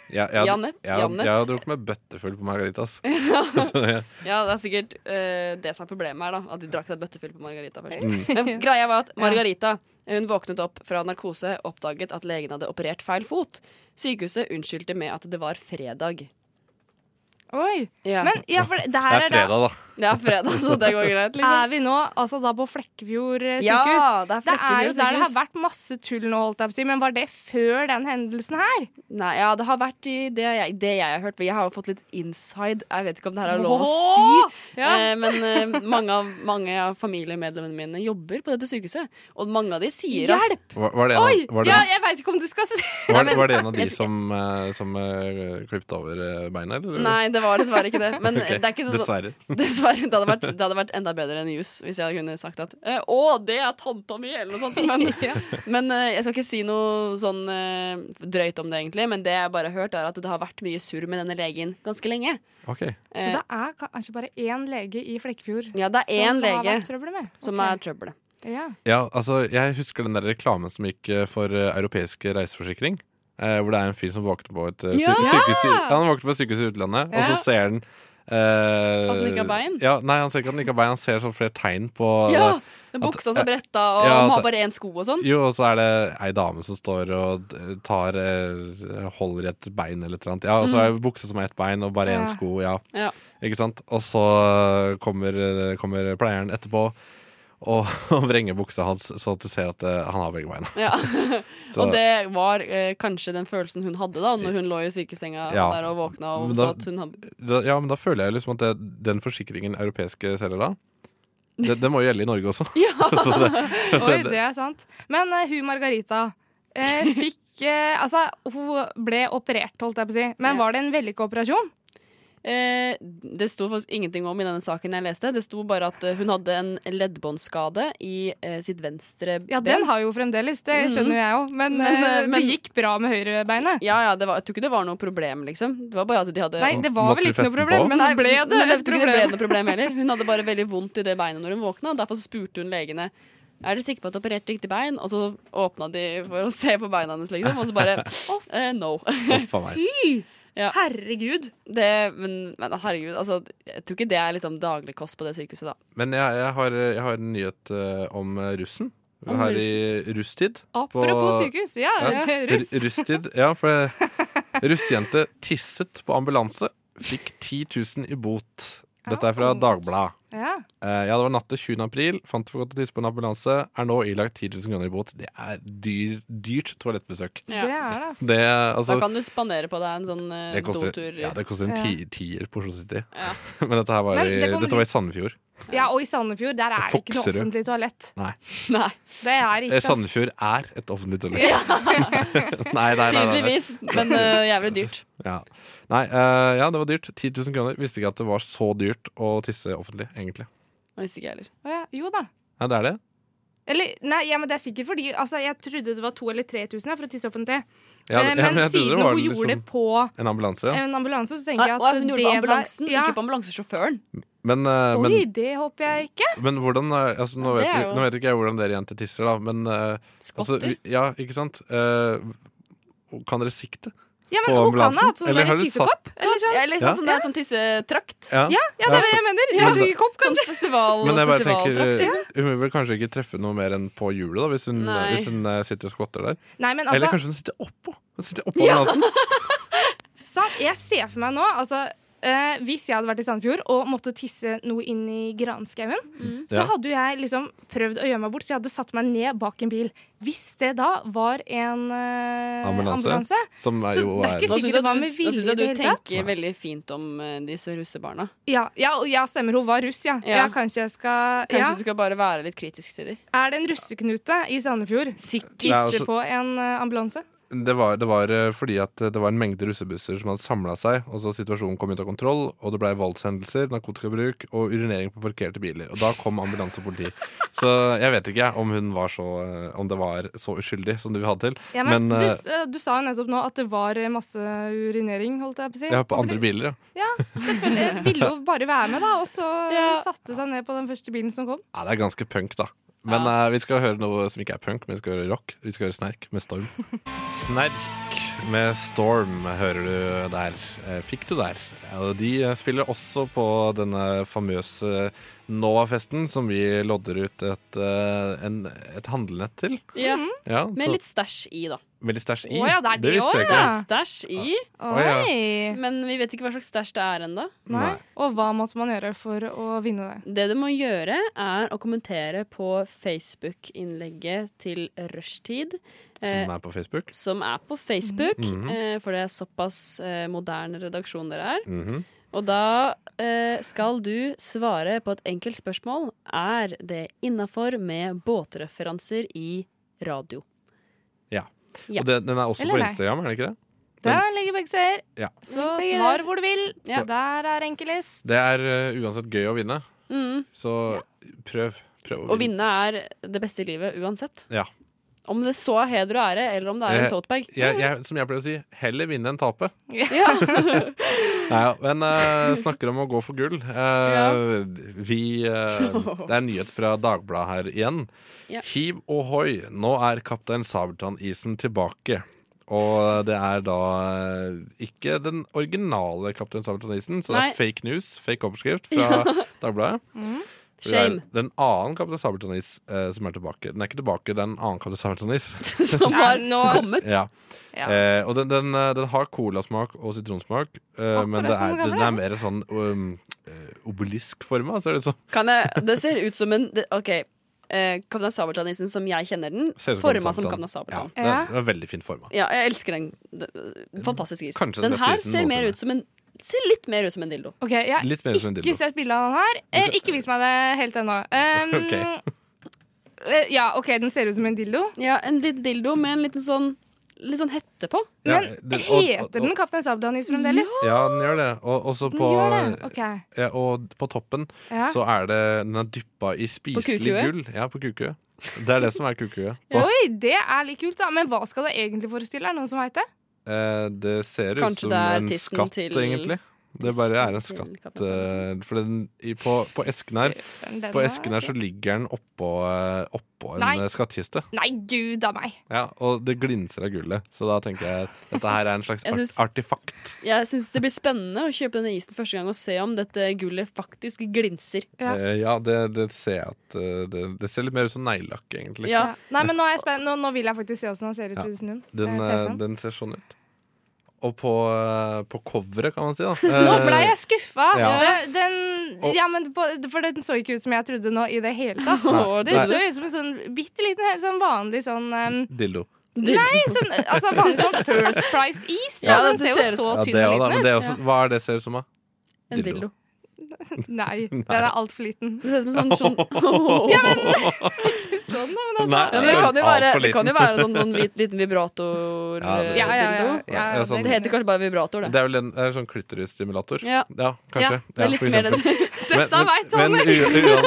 Jeg, jeg, hadde- Janet, jeg, hadde- Janet. jeg har drukket meg bøttefull på Margaritas. Ja, det er sikkert eh, det som er problemet her, da. At de drakk seg bøttefull på Margarita først. Mm. Men greia var at Margarita hun våknet opp fra narkose, oppdaget at legen hadde operert feil fot. Sykehuset unnskyldte med at det var fredag. Oi. Ja. Men ja, for det Det her er er da fredag, da. det er fredag, så det går greit, liksom. Er vi nå altså da på Flekkefjord eh, Ja, sykehus? Det det er, er jo Flekkefjord der det har sykehus. vært masse tull nå, holdt jeg på å si, men var det før den hendelsen her? Nei, ja, det har vært i det jeg, det jeg har hørt. For jeg har jo fått litt inside. Jeg vet ikke om det her er lov å si. Ja. Eh, men eh, mange, av, mange av familiemedlemmene mine jobber på dette sykehuset. Og mange av de sier at Hjelp! Var, var, det en, Oi! av- var, det, sånn? Ja, jeg veit ikke om du skal si var, Nei, men- var det en av de Jeg- som, uh, som uh, klippet over eh, beina, eller? Nei, det var dessverre ikke det. Men Ok, det er ikke sånn Dessverre. Dessverre. var, det, hadde vært, det hadde vært enda bedre enn jus hvis jeg kunne sagt at eh, Å, det er tanta mi! Eller noe sånt. Men, men eh, jeg skal ikke si noe sånn eh, drøyt om det, egentlig. Men det jeg bare har hørt, er at det har vært mye surr med denne legen ganske lenge. Ok, Så Eh, det er kanskje bare én lege i Flekkefjord Ja, det er én som det har lege vært trøbbel med? som Ok. er trøbbelet. ja. Ja, altså, jeg husker den der reklamen som gikk eh, for eh, europeiske reiseforsikring. Eh, hvor det er en fyr som våkner på et eh, sy Ja! sykehus, i- ja, han våkner på et sykehus i utlandet, og Ja. så ser han eh, At han ikke har bein? Ja, nei, han ser ikke at han ikke har bein, han ser sånn flere tegn på Ja! eh, Med at- buksa som bretta, og Ja, han at- har bare én sko og sånn. Jo, og så er det ei dame som står og eh, tar eh, holder i et bein eller et eller annet. Ja, og så er det bukse som er ett bein, og bare én Ja. sko. Ja. Mm. Ja. Ikke sant? Og så kommer, eh, kommer pleieren etterpå og, og vrenger buksa hans, så at du ser at eh, han har begge beina. Ja. Så- og det var eh, kanskje den følelsen hun hadde da Når hun lå i sykesenga Ja. der og våkna og Men så da- at hun hadde Da, ja, men da føler jeg liksom at det, den forsikringen europeiske selger da, det, det må jo gjelde i Norge også. Så det, Oi, det er sant. Men eh, hun Margarita eh, fikk eh, Altså, hun ble operert, holdt jeg på å si. Men Ja. var det en vellykka operasjon? Eh, Det sto faktisk ingenting om i denne saken jeg leste. Det sto bare at eh, hun hadde en leddbåndskade i eh, sitt venstre ben. Ja, den har jo fremdeles, det skjønner jo jeg òg. Men, Men, eh, eh, men- det gikk bra med høyrebeinet. ja, ja, det var, jeg tror ikke det var noe problem, liksom. Det var bare at de hadde Nei, det var Måtte vel du ikke noe feste den problem, på? men Nei, ble det men jeg et tror ikke det ble problem? noe problem heller. Hun hadde bare veldig vondt i det beinet når hun våkna. Derfor så spurte hun legene Er dere sikre på at du opererte riktig bein. Og så åpna de for å se på beina hennes, liksom. Og så bare eh, No. Å, Hm. faen meg. Herregud. Det, men, men herregud, altså, jeg tror ikke det er liksom dagligkost på det sykehuset, da. Men jeg, jeg, har, jeg har en nyhet eh, om eh, russen. Om Her i rusttid. på- Apropos sykehus, ja. eh, Ja. Russ. R- Russtid, ja, for det- russjente tisset på ambulanse, fikk 10 000 i bot. Dette er fra Ouch. Dagbladet. Ja. Eh, ja, det var natt til 20. april. Fant det for godt å tisse på en ambulanse. Er nå ilagt 10 000 kroner i bot. Det er dyr, dyrt toalettbesøk. Det er det, altså. Det, Da altså, kan du spandere på deg en sånn eh, det koster, dotur. ja, det koster en Ja. ti, tier på Oslo City. Ja. Men dette her var, Men i, det kommer dette var i Sandefjord. Ja, og i Sandefjord, der er det ikke noe Fokserud. offentlig toalett. Nei, Det er ikke Eh, ass. Sandefjord er et offentlig toalett. nei, nei, nei, nei, nei. tydeligvis, men eh, jævlig dyrt. Ja. Nei, eh, ja, det var dyrt. 10 000 kroner. Visste ikke at det var så dyrt å tisse offentlig, egentlig. Jeg visste ikke jeg heller. Å, ja. Jo da. Nei, det er det. Eller, nei, ja, men det er sikkert fordi altså, Jeg trodde det var to eller 3000 for å tisse offentlig. Ja, Eh, ja, men, jeg trodde siden hun var gjorde det liksom på en ambulanse. Ja. Eh, en ambulanse, så tenker Nei, jeg at å, hun gjorde det på ambulansen, var ja. ikke på ambulansesjåføren. Men, eh, men, Oi, det håper jeg ikke. men hvordan er- altså, nå, Ja, det vet er vi, jo- nå vet ikke jeg hvordan dere jenter tisser, da, men eh, altså, Skotter. vi, Ja, ikke sant? Eh, kan dere sikte? Ja, men På Hun kan ambulansen? ha hatt sånn Eller der har du tissekopp. Eller sånn. Ja, Eller Ja. sånn, det er en sånn tissetrakt. Ja, ja, det er det jeg mener. Ja. Men- Kopp, Sånn kanskje. festival, Men jeg bare tenker festivaltrakt. eh, liksom. Hun vil vel kanskje ikke treffe noe mer enn på hjulet, da, hvis hun, Nei. hvis hun eh, sitter og skvatter der. Nei, men Eller altså, kanskje hun sitter oppå. Hun sitter oppå ambulansen. sant, jeg ser for meg nå altså, eh, Hvis jeg hadde vært i Sandefjord og måtte tisse noe inn i granskauen, så Ja. hadde jo jeg liksom prøvd å gjøre meg bort, så jeg hadde satt meg ned bak en bil. Hvis det da var en eh, Ambulanse. ambulanse Som er Så jo det er er ikke Da sikkert syns det jeg, var du- med da vilje synes jeg i du det hele tatt. tenker veldig fint om eh, disse russebarna. Ja, ja, og- ja, stemmer. Hun var russ, ja. ja. Ja. kanskje jeg skal Kanskje ja. du skal bare være litt kritisk til dem. Er det en russeknute i Sandefjord? Sikkert. Ja, altså- på en eh, ambulanse? Det var, det var eh, fordi at eh, det var en mengde russebusser som hadde samla seg, og så situasjonen kom ut av kontroll, og det blei voldshendelser, narkotikabruk og urinering på parkerte biler. Og da kom ambulanse og politi. Så jeg vet ikke om hun var så eh, Om det var så uskyldig som det vi hadde til. Ja, men, Men, du, eh, s- eh, du sa jo nettopp nå at det var eh, masse urinering, holdt jeg på å si. Ja, på andre biler, ja. biler. Ville jo bare være med, da, og så Ja. satte seg ned på den første bilen som kom. ja. Det er ganske punk, da. Men eh, vi skal høre noe som ikke er punk, men vi skal høre rock. Vi skal høre Snerk med Storm. Snerk med Storm hører du der. Eh, Fikk du der. Ja, og De eh, spiller også på denne famøse Nova-festen som vi lodder ut et, eh, en, et handlenett til. Ja. Ja, Med så- litt stæsj i, da. veldig stæsj i. Å ja, det er de visste jeg også, ikke. ja. Stæsj i, Å, ja. Oi! men vi vet ikke hva slags stæsj det er ennå. Nei. Nei. Og hva måtte man gjøre for å vinne det? Det du må gjøre, er å kommentere på Facebook-innlegget til rushtid. Eh, Som er på Facebook. som er på Facebook, Mhm. eh, for det er såpass eh, moderne redaksjon dere er. Mhm. Og da eh, skal du svare på et enkelt spørsmål. Er det innafor med båtreferanser i radio? Ja. Ja. Og det, den er også Eller på nei. Instagram, er det ikke det? Den ligger begge steder. Ja. Så svar hvor du vil. Ja. Der er enkelist. Det er eh, uansett gøy å vinne, Mm. så prøv. prøv Å vinne er det beste i livet uansett. Ja. Om det så er heder og ære, eller om det er Eh, en toatbag. Jeg, jeg, som jeg pleier å si, heller vinne enn tape. Ja. Nei, ja, men eh, snakker om å gå for gull. Eh, Vi eh, Det er en nyhet fra Dagbladet her igjen. Ja. Hiv ohoi, nå er Kaptein Sabeltann-isen tilbake. Og det er da eh, ikke den originale Kaptein Sabeltann-isen, så Nei. det er fake news, fake oppskrift fra Dagbladet. For det er Shame. Den annen Kaptein Sabeltann-is eh, som er tilbake. Den er ikke tilbake, det er en annen Kaptein Sabeltann-is. Som har nå, kommet. Ja. Ja. Eh, og den, den, eh, den har colasmak og sitronsmak, eh, men det som er, den gamle. den er mer sånn um, eh, obeliskforma, ser det sånn- ut som. Kan jeg, det ser ut som en det, OK. Eh, Kaptein Sabeltann-isen som jeg kjenner den, Ser ut forma som Kaptein Kaptein Sabeltann. Ja, Ja. den- den er veldig fint forma. Ja. jeg elsker den. Det- Fantastisk is. Kanskje den den beste her isen ser mer noensinne. ut som en Ser litt mer ut som en dildo. Ok, Jeg har Litt mer som en dildo. ikke sett bilde av den her. Eh, ikke vis meg det helt ennå. Um, eh, Ja, OK, den ser ut som en dildo. Ja, En litt dildo med en liten sånn Litt sånn hette på. Ja, Men det- og- og- heter den Kaptein Sabeltann-is fremdeles? Ja, den gjør det. Og også Den på, gjør det. OK. ja, og på toppen Ja. så er det Den er dyppa i spiselig kukue? gull. Ja, på kukue. Det er det som er kukue. På, Oi, det er litt kult, da. Men hva skal det egentlig forestille? Er det noen som veit det? eh, det ser ut Kanskje som det er en tissen skatt, til- egentlig. Det bare er en tissen til skatt. Kaptein. eh, For den, i, på, på esken her På esken her så ligger den oppå, eh, oppå en Nei. eh, skattkiste. Nei, gud a meg! Ja, og det glinser av gullet. Så da tenker jeg at dette her er en slags Jeg art syns- artefakt. Jeg syns det blir spennende å kjøpe denne isen første gang og se om dette gullet faktisk glinser. Ja. Eh, ja, det, det ser jeg at eh, det, det ser litt mer ut som neglelakk, egentlig. Ja. Nei, men nå er jeg spent. Nå, nå vil jeg faktisk se åssen han ser ut Ja. uten hund. Den, Eh, eh, PC-en. den ser sånn ut. Og på, eh, på coveret, kan man si. da. Nå ble Eh, jeg skuffa! ja. Det- Den, Og- ja, men på, for den så ikke ut som jeg trodde nå i det hele tatt. Å, Det så ut som en sånn bitte liten, helt sånn vanlig sånn um, Eh, Dildo. Nei, sånn, altså vanlig sånn First Price is. Da. Ja, den ser det ser jo ut så Ja, det tynn og også, da. liten Men ut. det er også, hva er det ser ut som, da? En dildo. Nei, den er altfor liten. Det ser ut som en sånn, sånn ja, men, Sånn, da, men altså. Nei, det, kan jo være, altfor det kan jo liten. være sånn, sånn hvit- liten vibrator Ja, det- eh, Ja, ja, ja. dildo. ja, Ja, sånn- Det heter kanskje bare vibrator, det. Det er vel en, det er en sånn klitorisstimulator? Ja. ja, kanskje. det er litt for mer eksempel. det. Dette vet Tony. u-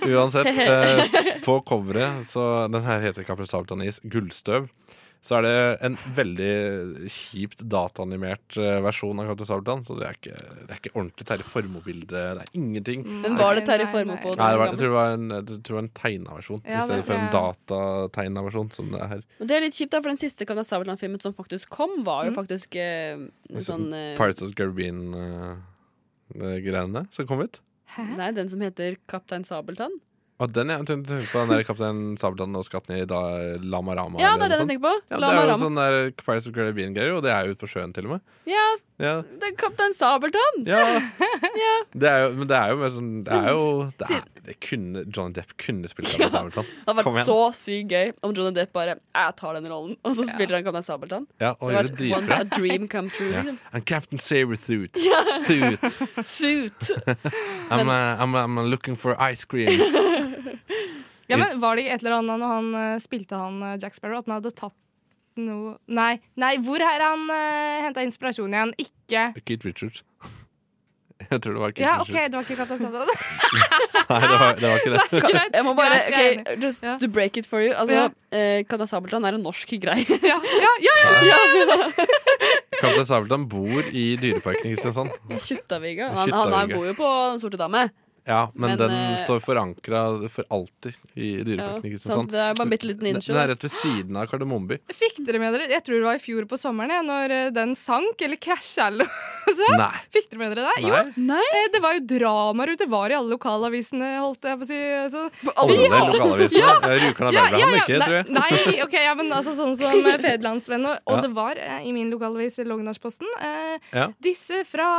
uans- uansett, eh, på coveret så Den her heter Kaptein Sabeltann-is Gullstøv. Så er det en veldig kjipt dataanimert eh, versjon av Kaptein Sabeltann. Så det er ikke, det er ikke ordentlig terje formobilde. Det er ingenting. Men var det Mm. Nei, Terje Formoe nei. på Nei, det var, den jeg tror det var en, jeg tror det var en tegna versjon Ja, i stedet det for en tror datategna versjon. Som det er her. Og det er litt kjipt, da, for den siste Kaptein Sabeltann-filmen som faktisk kom, var jo Mm. faktisk eh, en sånn eh, Pirates of the Caribbean-greiene som kom ut. Nei, den som heter Kaptein Sabeltann. Og den jeg tenkte på, den der Kaptein Sabeltann og skatten i da, Lama Rama. Ja, det eller er den noe jeg tenker på. Ja, det La er meg jo ramme. sånn der Pirates of the Caribbean-greier, og det er jo ute på sjøen til og med. Ja, Ja, det er Kaptein Sabeltann! ja. Det er jo, men det er jo mer sånn Det er jo det er, det kunne, Johnny Depp kunne spille Kaptein Sabeltann. Det hadde Kom igjen. vært så sykt gøy om Johnny Depp bare Jeg tar den rollen, og så spiller han Kaptein Sabeltann. Ja, og Det gjør hadde det vært one, dritbra. a dream come true. Ja. liksom. I'm Captain Sabretooth. Tooth. Suit! I'm, uh, I'm, I'm looking for ice cream. Ja, men Var det i et eller annet når han eh, spilte han eh, Jack Sparrow, at han hadde tatt noe Nei, nei hvor har han uh, henta inspirasjon igjen? Ikke Keith Richards. Jeg tror det var Keith Ja, OK, Richards. det var ikke katastrofe. Nei, det var, det var ikke det. Greit, Jeg må bare greit, jeg er ok, Just Ja. to break it for you. Ja. Altså, eh, Kaptein Sabeltann er en norsk greie. Ja, ja, ja, ja. Kaptein Sabeltann bor i Dyreparken i Kristiansand. Kjuttaviga. Han, han er, Kjuttaviga. bor jo på Den sorte dame. Ja, men, Men, den eh, står forankra for alltid i Ja, Dyreparken i sånn, Kristiansand. det er bare en bitte liten Den innsjø. den er rett ved siden av Kardemommeby. Fikk dere med dere Jeg tror det var i fjor på sommeren, jeg, når eh, den sank eller krasja eller noe sånt. Nei. Fikk dere med dere det? Jo. Nei. Nei, Eh, Det var jo dramaer ute. Var i alle lokalavisene, holdt jeg på å si. altså. Så. Alle lokalavisene. Ja, Rjukan Arbeiderblad hadde ikke, tror Nei, jeg. nei, ok, ja, men altså sånn som eh, Fedrelandsvennen, og, Ja. og det var eh, i min lokalavis Lognasposten eh, Ja. Disse fra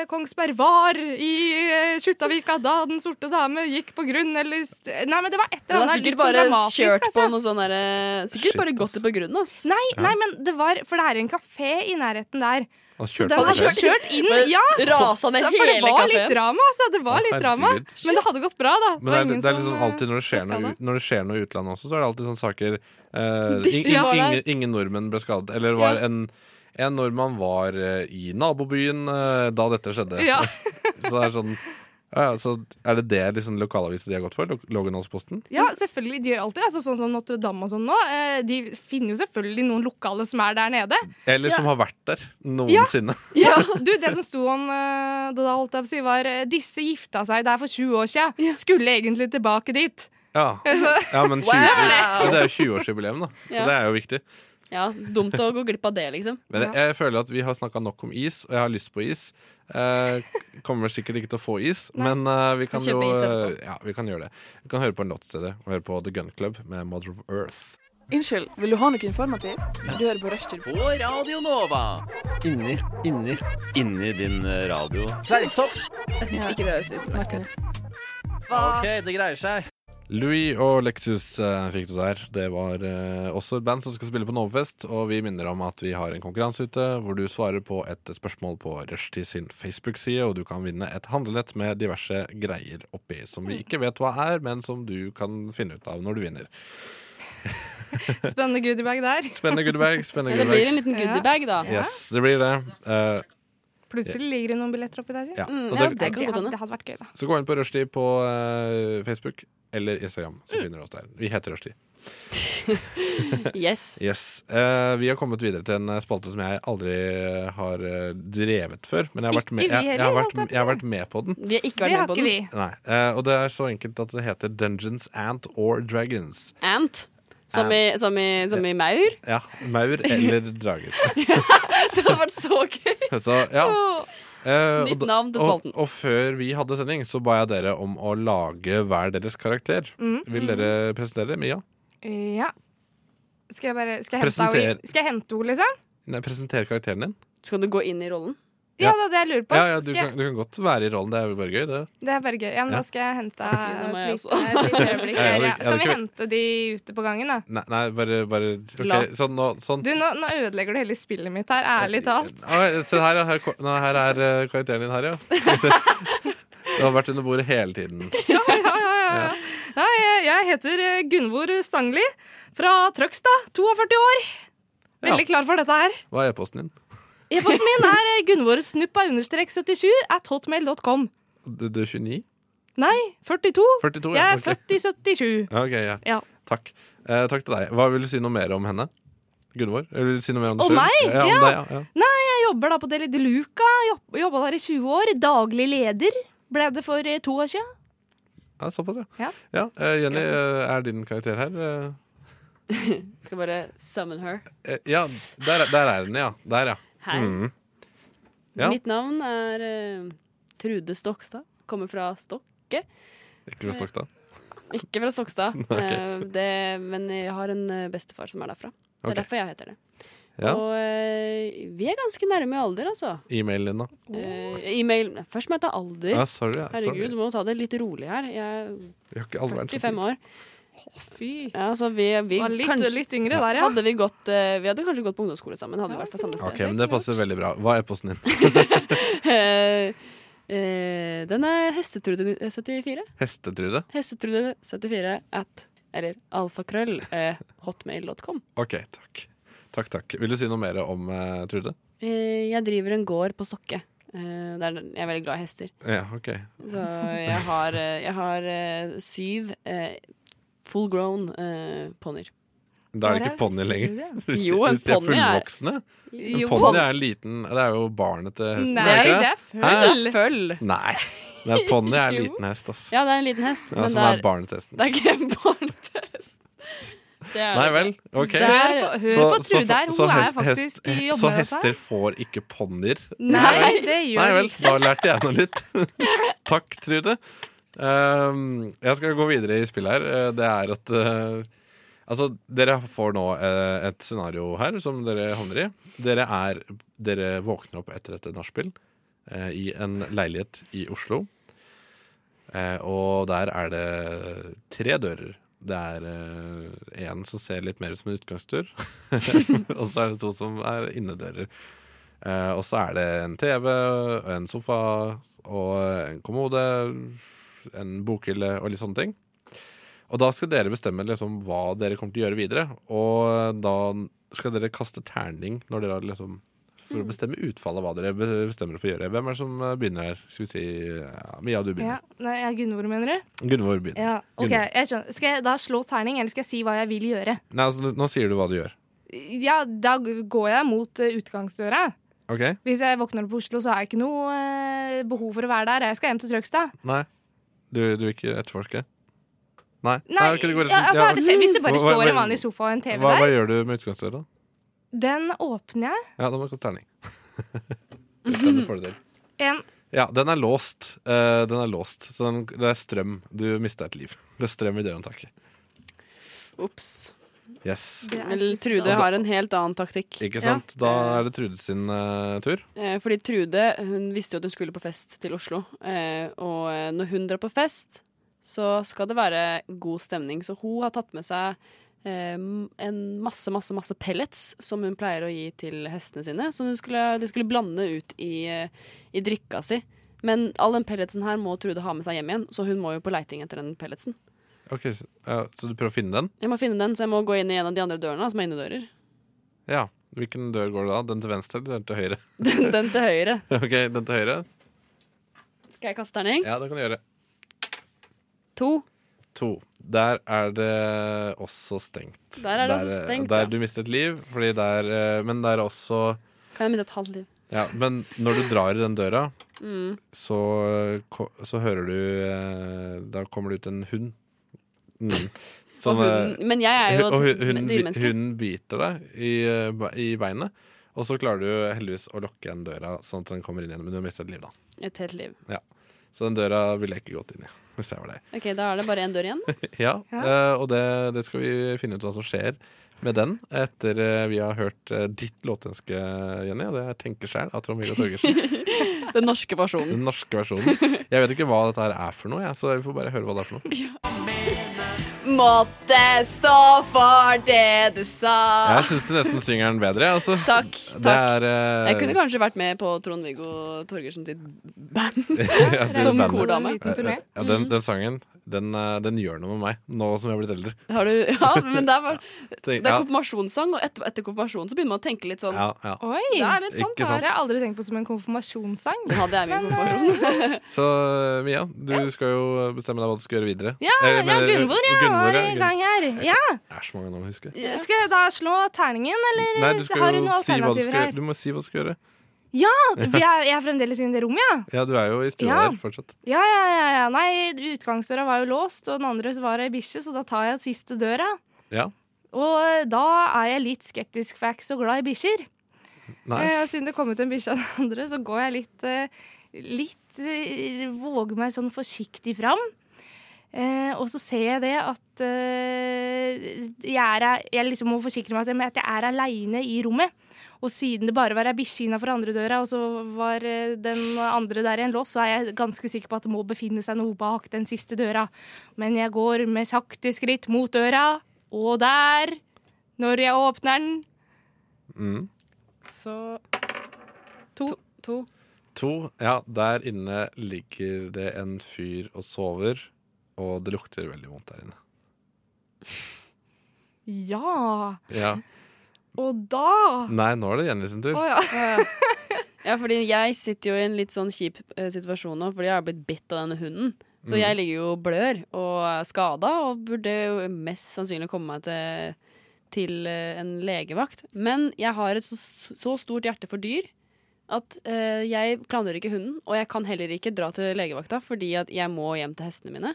eh, Kongsberg var i eh, Skjuttavika da den sorte dame gikk på grunn, eller st- Nei, men det var et Den eller har annet sikkert litt sånn bare dramatisk. kjørt på Altså. noe sånn derre Sikkert Shit, bare ass. gått det på grunn, ass. Nei, nei, men det var For det er en kafé i nærheten der. Han Så kjørte den på hadde det. kjørt kjørt inn, ja! Rasa Så, ned for det hele var litt kafeen. drama, altså. Det var Å, litt drama. herregud. Men det hadde gått bra, da. Men det er, ingen det er liksom som, eh, alltid når det skjer ble noe, skadet. ut- når det skjer noe i utlandet også, så er det alltid sånne saker eh, Disse ing- var der. ingen, ingen nordmenn ble skadet. Eller var en, en nordmann var eh, i nabobyen eh, da dette skjedde. Ja. så det er sånn ja, ja, så er det det liksom lokalaviser de har gått for? Lo- Lågendalsposten? Ja, selvfølgelig. De gjør alltid altså, Sånn som Notre-Dame og sånn nå. eh, De finner jo selvfølgelig noen lokale som er der nede. Eller som har vært der noensinne. Ja. Du, det som sto om eh, det da, holdt jeg på å si, var eh, disse gifta seg der for 20 år siden. Skulle egentlig tilbake dit. Ja, ja. Så, men 20, ja, det er jo 20-årsjubileum, da. Så Ja. det er jo viktig. Ja, dumt å gå glipp av det, liksom. Men jeg, jeg føler at vi har snakka nok om is, og jeg har lyst på is. Eh, kommer sikkert ikke til å få is, men eh, vi kan Kan jo kjøpe is eh, etterpå. ja, vi kan gjøre det. Vi kan høre på en låt i stedet, og høre på The Gun Club med Mother of Earth. Unnskyld, vil du ha noe informativt? Du hører på Rushtid. På Radio Nova. Inni, inni, inni din eh, radio. Hvis ikke det høres utmerket ut. OK, det greier seg. Louis og Lexus eh, fikk du der. Det var eh, også et band som skal spille på Novefest, og vi minner om at vi har en konkurranse ute hvor du svarer på et spørsmål på Rushtid sin Facebook-side, og du kan vinne et handlenett med diverse greier oppi, som Mm. vi ikke vet hva er, men som du kan finne ut av når du vinner. spennende goodiebag der. Spennende goodiebag, spennende Det blir goodiebag. en liten goodiebag, da. Yes, det blir det. Eh, Plutselig ligger det noen billetter oppi der. sier jeg. ja. Og ja, dere- det kan det, godt hadde, hende. Mm, det hadde vært gøy, da. Så gå inn på Rushdie på eh, Facebook eller Instagram, så finner du oss der. Vi heter Rushdie. Yes. Yes. Eh, vi har kommet videre til en eh, spalte som jeg aldri eh, har eh, drevet før. Men jeg har vært Ikke vi med, jeg, jeg har heller, vært, holdt jeg på å jeg har vært med på den. Vi har ikke Det vært med har på ikke vi. den. Nei. Eh, og det er så enkelt at det heter Dungeons, Ant or Dragons. Ant. Som i, som i, som i maur. Ja, maur eller drager. Det hadde vært så gøy! Så ja. Eh, Nytt og da- navn til spalten. Og, og før vi hadde sending, så ba jeg dere om å lage hver deres karakter. Vil Mm. dere presentere? Mia? Ja. Skal jeg bare Skal jeg hente henne, i- Presenter. skal jeg hente henne, liksom? Nei, presentere karakteren din. Skal du gå inn i rollen? Ja, Ja. det er det jeg lurer på. Ja, ja, du, Skal jeg- kan, du kan godt være i rollen. Det er jo bare gøy, det. Det er bare gøy. Ja, men Ja. da skal jeg hente Fuck you, det må jeg et også. lite- et lite øyeblikk. Ja, ja, her, det- ja. ja, det Kan vi kan vi- hente de ute på gangen, da? Nei, nei bare, bare ok, La. Sånn, nå, sånn. Du, nå, nå ødelegger du hele spillet mitt her, ærlig talt. Ah, se her, ja, her, ko- nei, her er eh, karakteren din her, ja. Du har vært under bordet hele tiden. Ja, ja, ja. Nei, jeg- jeg heter eh, Gunvor Stangli fra Trøgstad. 42 år. Veldig klar for dette her. Hva er e-posten din? E-posten min er eh, gunvorsnuppa-77 at hotmail.com. Du, du er 29? Nei, 42. 42? Jeg er ok. født i 77. Ja, ok, ja. Ja. Takk. Eh, takk til deg. Hva Vil du si noe mer om henne? Gunvor? Vil du si noe mer om deg Om selv? meg? Ja, om Ja. deg, ja, ja. Jeg jobber da på Deli de Luca. jobb- Jobba der i 20 år. Daglig leder ble det for eh, to år siden. Ja, såpass, ja. Ja. eh, Jenny, Grattis. eh, er din karakter her? Eh, Skal bare summon her. eh, ja, der, er- der er den, ja. Der, ja. Hei. Mm. Ja. Mitt navn er eh, Trude Stokstad. Kommer fra Stokk. Ikke bra sagt, da. Ikke fra Stokstad, Ok. eh, det, men jeg har en eh, bestefar som er derfra. Det er Ok. derfor jeg heter det. Ja. Og eh, vi er ganske nærme i alder, altså. E-mailen din, da. Eh, e-mail Først må jeg ta alder. Ja, sorry. Ja. Herregud, sorry. du må ta det litt rolig her. Jeg Vi har ikke all er verdens 45 år. Fy. Ja, så vi, vi Var litt, kanskje, litt yngre der, ja. hadde vi, gått, eh, vi hadde kanskje gått på ungdomsskole sammen. Hadde vi Ja, vært på samme sted. Ok, men Det passer veldig bra. Hva er posten din? Eh, eh, den er Hestetrude 74. Hestetrude? Hestetrude 74 at eller alfakrøll eh, hotmail.com. Ok, takk. Takk, takk. Vil du si noe mer om eh, Trude? Eh, jeg driver en gård på Stokke. Eh, der, jeg er veldig glad i hester. Ja, ok. Så jeg har, eh, jeg har eh, syv eh, full grown eh, ponnier. Da er det ikke ponni lenger. Hvis de- Jo, en hvis de er ponni er- fullvoksne. En Jo, ponni er en liten Det er jo barnet til hesten. Nei, er det det ikke det? er føl. føll. Nei. Nei, ponni er en Jo. liten hest, ass. Ja, det er en liten hest, Ja, men som det er er, barnet til hesten. det er ikke en barnetest. Det er Nei det. vel, ok. Det er- Hør på, hør på Så- så- Trude her. Hun så er hest- hest- faktisk i jobber Så med dette her. hester får ikke ponnier? Nei, det gjør Nei de vel, ikke. da lærte jeg noe litt. Takk, Trude. Ehm, jeg skal gå videre i spillet her. Eh, Det er at eh, Altså, dere får nå eh, et scenario her som dere havner i. Dere er Dere våkner opp etter et nachspiel eh, i en leilighet i Oslo. Eh, og der er det tre dører. Det er eh, én som ser litt mer ut som en utgangsdør. og så er det to som er innedører. Eh, og så er det en TV, en sofa og en kommode, en bokhylle og litt sånne ting. Og da skal dere bestemme liksom, hva dere kommer til å gjøre videre. Og da skal dere kaste terning når dere har liksom Mm. for å bestemme utfallet av hva dere be- bestemmer for å gjøre. Hvem er det som eh, begynner her? Skal vi si ja, Mia, du Ja, begynner. nei, ja, Gunvor, mener du? Gunvor begynner. Ja, ok, Gunvor. jeg skjønner. Skal jeg da slå terning, eller skal jeg si hva jeg vil gjøre? Nei, altså, nå sier du hva du gjør. Ja, da går jeg mot eh, utgangsdøra. OK? Hvis jeg våkner på Oslo, så har jeg ikke noe eh, behov for å være der. Jeg skal hjem til Trøgstad. Nei. Du, du vil ikke etterforske? Nei. Nei, ok, det ja, går liksom- altså, er det, fe- hvis det bare Hva- hva- står en hva- vanlig sofa og en TV Hva, hva der, gjør du med utgangsdøra? den åpner jeg. Ja, da må du kaste terning. Vi ser om du får det til. En, Ja, den er låst. Eh, den er låst. Så den, det er strøm. Du mista et liv. Det er strøm i dørhåndtaket. Ops. Yes. det er altså. Vel, trist, Trude da. har en helt annen taktikk. Ikke sant? Da er det Trude sin eh, tur. Eh, Fordi Trude hun visste jo at hun skulle på fest til Oslo. Eh, og eh, når hun drar på fest, så skal det være god stemning. Så hun har tatt med seg eh, en masse, masse, masse pellets som hun pleier å gi til hestene sine. Som hun skulle, de skulle blande ut i, eh, i drikka si. Men all den pelletsen her må Trude ha med seg hjem igjen, så hun må jo på leiting etter den pelletsen. Ok, Så, ja, så du prøver å finne den? Jeg må finne den, så jeg må gå inn i en av de andre dørene, som er innedører. Ja. Hvilken dør går det da? Den til venstre eller den til høyre? Den, den til høyre. ok, Den til høyre? Skal jeg kaste terning? Ja, det kan du gjøre. To. To. Der er det også stengt. Der er det også stengt. Der ja. du mistet liv, fordi der, eh, men det er også Kan jeg miste et halvt liv? ja, Men når du drar i den døra, Mm. så, eh, ko- så hører du eh, Da kommer det ut en hund. Mm. Som, og eh, hunden, men jeg er jo hu- og hun, hun, et bi- dyremenneske. hun biter deg i, eh, be- i beinet, og så klarer du heldigvis å lokke igjen døra, sånn at den kommer inn igjen. Men du har mistet et liv, da. Et helt liv. Så den døra ville jeg ikke gått inn i. Hvis jeg var deg. Ok, Da er det bare én dør igjen. Ja, Ja. eh, og det, det skal vi finne ut hva som skjer med den etter eh, vi har hørt eh, ditt låtønske, Jenny. Og det er 'Tenker sjæl' av Trond-Viggo Torgersen. Den norske versjonen. Den norske versjonen. Jeg vet ikke hva dette her er for noe, jeg, så vi får bare høre hva det er for noe. Måtte stå for det du sa. Jeg syns du nesten synger den bedre, jeg, altså. Takk. Det takk. er eh, Jeg kunne kanskje vært med på Trond-Viggo Torgersen sitt band. ja, Reise det er Som på spennende. kor. kordame. En liten turné. ja, Mm. den, den sangen, den, eh, den gjør noe med meg, nå som jeg har blitt eldre. Har du, ja, men det er, bare- Tenk- det er konfirmasjonssang, og etter, etter konfirmasjonen så begynner man å tenke litt sånn ja, ja, ja. Oi! Det er litt sånn, Ikke Det sant? har jeg aldri tenkt på som en konfirmasjonssang. Den hadde jeg min konfirmasjon. Så eh, Mia, du skal jo bestemme deg hva du skal gjøre videre. Ja, Eh, ja, men- Gunvor, ja. Gunvor, Var ja. i Gunvor. gang her. Ja. Det er så mange navn å huske. Skal jeg da slå terningen, eller Nei, har du skal du jo noen si hva du alternativer skal gjøre. her? Du må si hva du skal gjøre. Vi er, jeg er fremdeles inne i det rommet, ja. Ja, du er jo i stua Ja. der fortsatt. Ja, ja, ja, ja. Nei, utgangsdøra var jo låst, og den andre var ei bikkje, så da tar jeg siste døra. Ja. Og eh, da er jeg litt skeptisk, for jeg er ikke så glad i bikkjer. Nei. Eh, siden det kom ut en bikkje av den andre, så går jeg litt, eh, litt eh, Våger meg sånn forsiktig fram. Eh, og så ser jeg det at eh, jeg, er, jeg liksom må forsikre meg om at jeg er aleine i rommet. Og siden det bare var ei bikkje innafor andre døra, og så var eh, den andre der i en lås, så er jeg ganske sikker på at det må befinne seg noe bak den siste døra. Men jeg går med sakte skritt mot døra, og der, når jeg åpner den, Mm. Så To. To. to. To, ja, der inne ligger det en fyr og sover, og det lukter veldig vondt der inne. Ja, Ja. og da Nei, nå er det Jenny sin tur. Å ja. Ja, fordi jeg sitter jo i en litt sånn kjip eh, situasjon nå, fordi jeg har blitt bitt av denne hunden. Så Mm. jeg ligger jo og blør og er skada, og burde jo mest sannsynlig komme meg til, til eh, en legevakt. Men jeg har et så, så stort hjerte for dyr at eh, jeg klandrer ikke hunden. Og jeg kan heller ikke dra til legevakta fordi at jeg må hjem til hestene mine.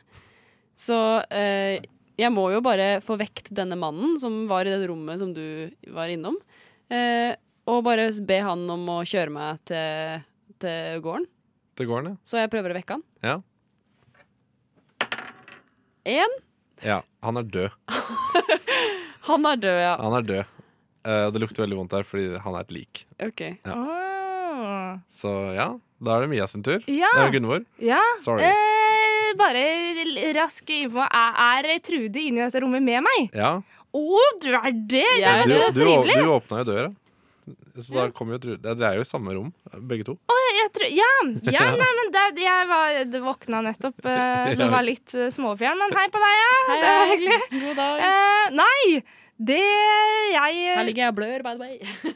Så eh, jeg må jo bare få vekt denne mannen som var i det rommet som du var innom. Eh, og bare be han om å kjøre meg til, til gården. Til gården, Så jeg prøver å vekke han. ja. Én. ja. Ja, han er død. Han er død, ja. Han er død. Eh, og det lukter veldig vondt der, fordi han er et lik. Ok. Ah. Så ja, da er det Mia sin tur. Ja. Det er Gunvor. ja. Sorry. Eh, bare l- rask info. Er, er Trude inne i dette rommet med meg? Ja, Å, du er det! Jeg det var er du, så du, trivelig! du åpna jo døra. Så da kom jo, et ru- Dere er jo i samme rom, begge to. Å, jeg, jeg tror Ja! ja Ja. nei, men det, jeg var, det våkna nettopp, eh, så Ja. var litt eh, småfjern. Men hei på deg, ja. det var hyggelig. God dag. Eh, nei! Det jeg eh, Her ligger jeg og blør, by the way.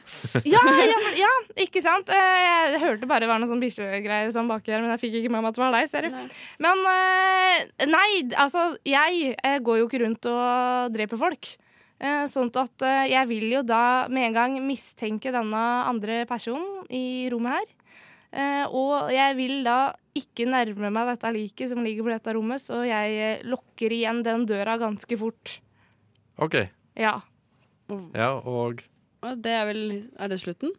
ja, ja, men- ja, ikke sant? Eh, Jeg hørte bare det var noe sånn bikkjegreier sånn baki her, men jeg fikk ikke med meg at det var deg, ser du. Men eh, nei, altså, jeg eh, går jo ikke rundt og dreper folk. Eh, Sånn at eh, jeg vil jo da med en gang mistenke denne andre personen i rommet her. Eh, Og jeg vil da ikke nærme meg dette liket som ligger på dette rommet, så jeg eh, lukker igjen den døra ganske fort. OK. Ja. Ja, og Og det er vel Er det slutten?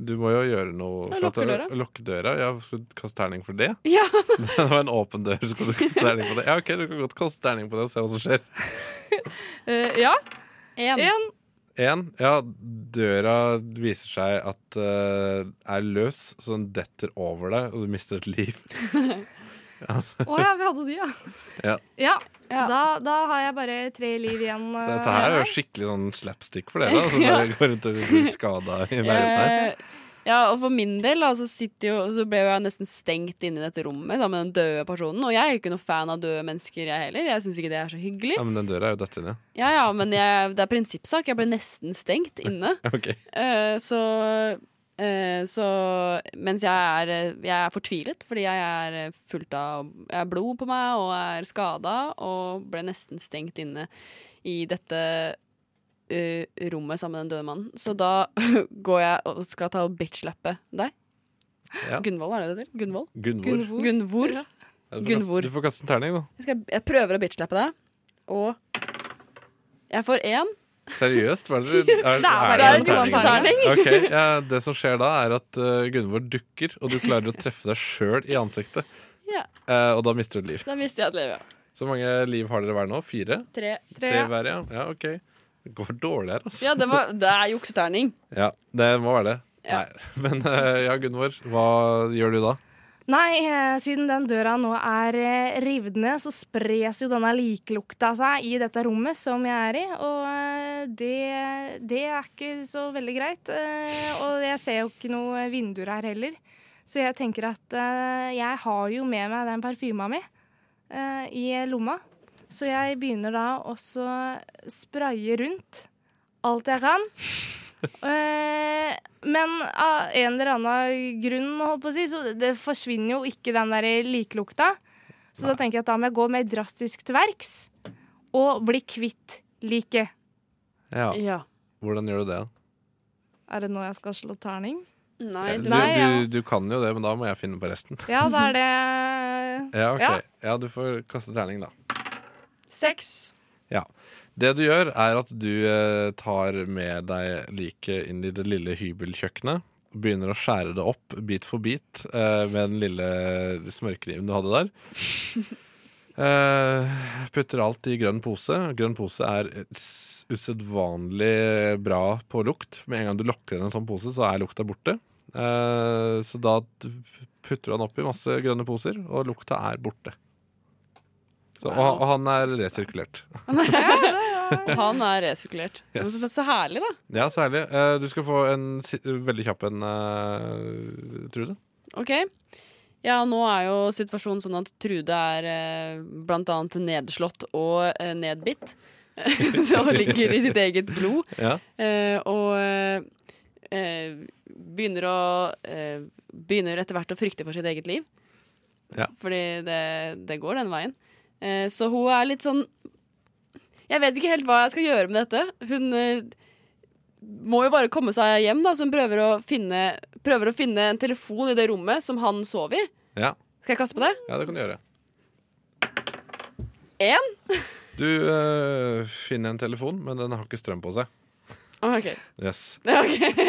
du må jo gjøre noe for Ja, at lukke det- døra. Lukke døra? Ja, skal du kaste terning for det? Ja. Det var en åpen dør, så skal du kaste terning på det? Ja, OK, du kan godt kaste terning på det og se hva som skjer. Eh, Ja. En. En. En, ja, døra viser seg at eh, er løs, så den detter over deg, og du mister et liv. Å ja, vi hadde de, ja. Ja. Ja, Da, da har jeg bare tre liv igjen. eh, Dette her er jo her. skikkelig sånn slapstick for dere, da, som dere går rundt og blir skada i leiligheten her. Eh, Ja, og for min del da, så, sitter jo, så ble jeg nesten stengt inne i dette rommet sammen med den døde personen. Og jeg er jo ikke noe fan av døde mennesker, jeg heller. Jeg syns ikke det er så hyggelig. Ja, men den døra er jo dette inne. Ja, ja, men jeg, det er prinsippsak. Jeg ble nesten stengt inne. Ok. Eh, så eh, så mens jeg er, eh, jeg er fortvilet fordi jeg er eh, fullt av jeg har blod på meg og er skada og ble nesten stengt inne i dette eh, rommet sammen med den døde mannen. Så da går jeg og skal ta og bitchlappe deg. Ja. Gunvold, er det det heter? Gunvold? Gunvor. Gunvor. Ja, du får Gunvor. kaste- Du får kaste en terning, da. Jeg, skal, jeg prøver å bitchlappe deg, og jeg får én. Seriøst? Hva er det, er, er bare det en glansterning. Ok, ja, Det som skjer da, er at uh, Gunvor dukker, og du klarer å treffe deg sjøl i ansiktet. Ja. Eh, og da mister du et liv. Da mister jeg et liv, ja. Så mange liv har dere hver nå? Fire? Tre. Tre hver, ja. ja. OK. Det går dårlig her, altså. Ja, det, var, det er jukseterning. Ja, det må være det. Ja. Nei. Men eh, ja, Gunvor, hva gjør du da? Nei, eh, siden den døra nå er eh, revet ned, så spres jo denne likelukta seg i dette rommet som jeg er i. Og eh, det, det er ikke så veldig greit. Eh, Og jeg ser jo ikke noe vinduer her heller. Så jeg tenker at eh, jeg har jo med meg den parfyma mi eh, i lomma. Så jeg begynner da også å spraye rundt alt jeg kan. Eh, Men av en eller annen grunn, holdt på å si, så det forsvinner jo ikke den der likelukta. Så da tenker jeg at da må jeg gå mer drastisk til verks og bli kvitt liket. Ja, Ja. Hvordan gjør du det? Er det nå jeg skal slå terning? Nei, Du, du, Nei, ja. du, du kan jo det, men da må jeg finne på resten. Ja, da er det Ja, ok. Ja. ja du får kaste terning, da. seks. Det du gjør, er at du eh, tar med deg liket inn i det lille hybelkjøkkenet. og Begynner å skjære det opp bit for bit eh, med den lille smørkniven du hadde der. Eh, putter alt i grønn pose. Grønn pose er s- usedvanlig bra på lukt. Med en gang du lokker inn en sånn pose, så er lukta borte. Eh, så da putter du han opp i masse grønne poser, og lukta er borte. Så, og, og han er resirkulert. han er resirkulert. Men Så, så herlig, da. Ja, så herlig. Eh, Du skal få en si- veldig kjapp en, eh, Trude. OK. Ja, nå er jo situasjonen sånn at Trude er eh, blant annet nedslått og eh, nedbitt. og ligger i sitt eget blod. Ja. Eh, og eh, eh, begynner å eh, Begynner etter hvert å frykte for sitt eget liv. Ja. Fordi det, det går den veien. Eh, så hun er litt sånn Jeg vet ikke helt hva jeg skal gjøre med dette. Hun eh, må jo bare komme seg hjem, da, så hun prøver å finne, prøver å finne en telefon i det rommet som han sov i. Ja. Skal jeg kaste på det? ja, det kan du gjøre. Én? Du eh, finner en telefon, men den har ikke strøm på seg. OK. Yes. Ok.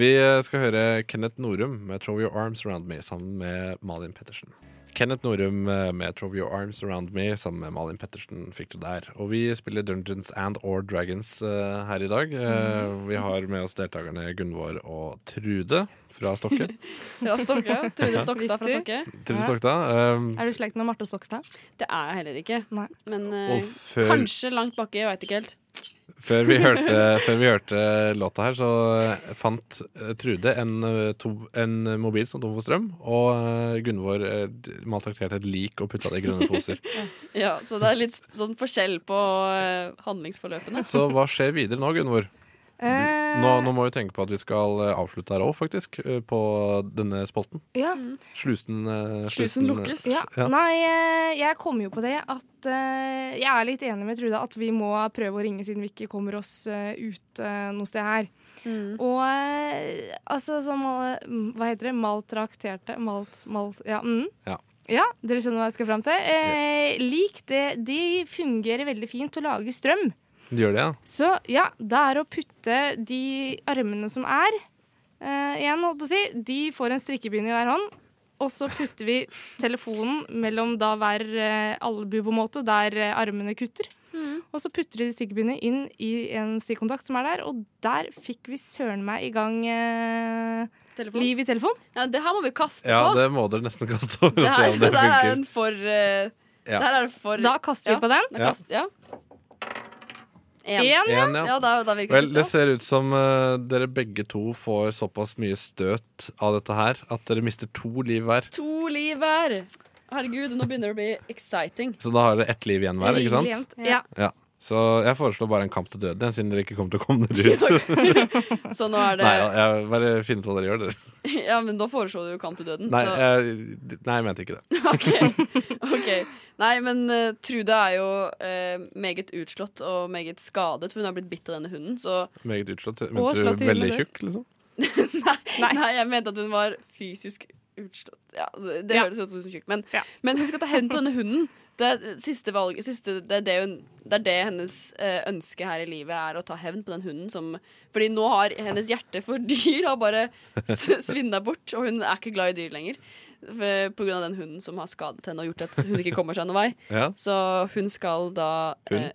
Vi eh, skal høre Kenneth Norum med 'Throw Your Arms Around Me' sammen med Malin Pettersen. Kenneth Norum eh, med 'Throw Your Arms Around Me' sammen med Malin Pettersen fikk du der. Og vi spiller Dungeons and or Dragons eh, her i dag. Eh, Vi har med oss deltakerne Gunvor og Trude fra Stokke. Fra Stokke. Trude Stokstad fra Viktig. Stokke. Trude Stokstad. eh, Er du i slekt med Marte Stokstad? Det er jeg heller ikke. Nei. Men eh, Og før- kanskje langt bakke, jeg veit ikke helt. Før vi hørte, før vi hørte låta her, så eh, fant eh, Trude en, eh, to, en mobil som tom for strøm, og eh, Gunvor eh, d- maltrakterte et lik og putta det i grønne poser. Ja, Så det er litt sånn forskjell på eh, handlingsforløpene. Så hva skjer videre nå, Gunvor? Eh, Nå, nå må vi tenke på at vi skal eh, avslutte her òg, faktisk, eh, på denne spolten. ja. Slusen, eh, Slusen lukkes. Ja. Ja. Nei, eh, jeg kom jo på det at eh, jeg er litt enig med Trude at vi må prøve å ringe siden vi ikke kommer oss eh, ut eh, noe sted her. Mm. Og eh, altså som alle mm, Hva heter det? Maltrakterte? Malt... malt ja, mm. Ja. Ja, dere skjønner hva jeg skal fram til. Eh, lik, det, de fungerer veldig fint å lage strøm. De eh, gjør det, ja? Så ja, det er å putte de armene som er eh, Igjen, holdt på å si. De får en strikkepinne i hver hånd. Og så putter vi telefonen mellom da hver eh, albue, på en måte, der eh, armene kutter. Mm. Og så putter de stikkepinnen inn i en stikkontakt som er der, og der fikk vi søren meg i gang eh, Telefon. liv i telefon. Ja, det her må vi kaste Ja, på. det må dere nesten kaste over og Det se her, om det det her er funker. en for eh, Ja. Det her er for Da kaster vi Ja. på den. Da Ja. kast- ja. En. Én. En, ja. Ja, da, da virker Vel, det det litt, ser ut som eh, dere begge to får såpass mye støt av dette her at dere mister to liv hver. da. To liv hver. Herregud, nå begynner det å bli exciting. Så da har dere ett liv igjen hver, ikke sant? Jevnt. Ja. Ja. Så jeg foreslår bare en kamp til døden, jeg, siden dere ikke kommer til å komme dere ut. Så nå er det Nei, jeg bare finner ut hva dere gjør, dere. Ja, men da foreslo du jo kamp til døden. Nei, så. jeg, nei, jeg mente ikke det. Ok. Nei, men eh, Trude er jo eh, meget utslått og meget skadet, for hun har blitt bitt av denne hunden. Så Meget utslått. Og Mente slått du i huet med veldig det. tjukk, liksom? nei. jeg mente at hun var fysisk utslått. Ja, det det Ja. høres ut som tjukk, men, Ja. men hun skal ta hevn på denne hunden. Det er siste valget, siste, det, er det, hun, det er det hennes eh, ønske her i livet er, å ta hevn på den hunden som Fordi nå har hennes hjerte for dyr har bare svinna bort, og hun er ikke glad i dyr lenger. eh, På grunn av den hunden som har skadet henne og gjort at hun ikke kommer seg noen vei. Ja. Så hun skal da Hun?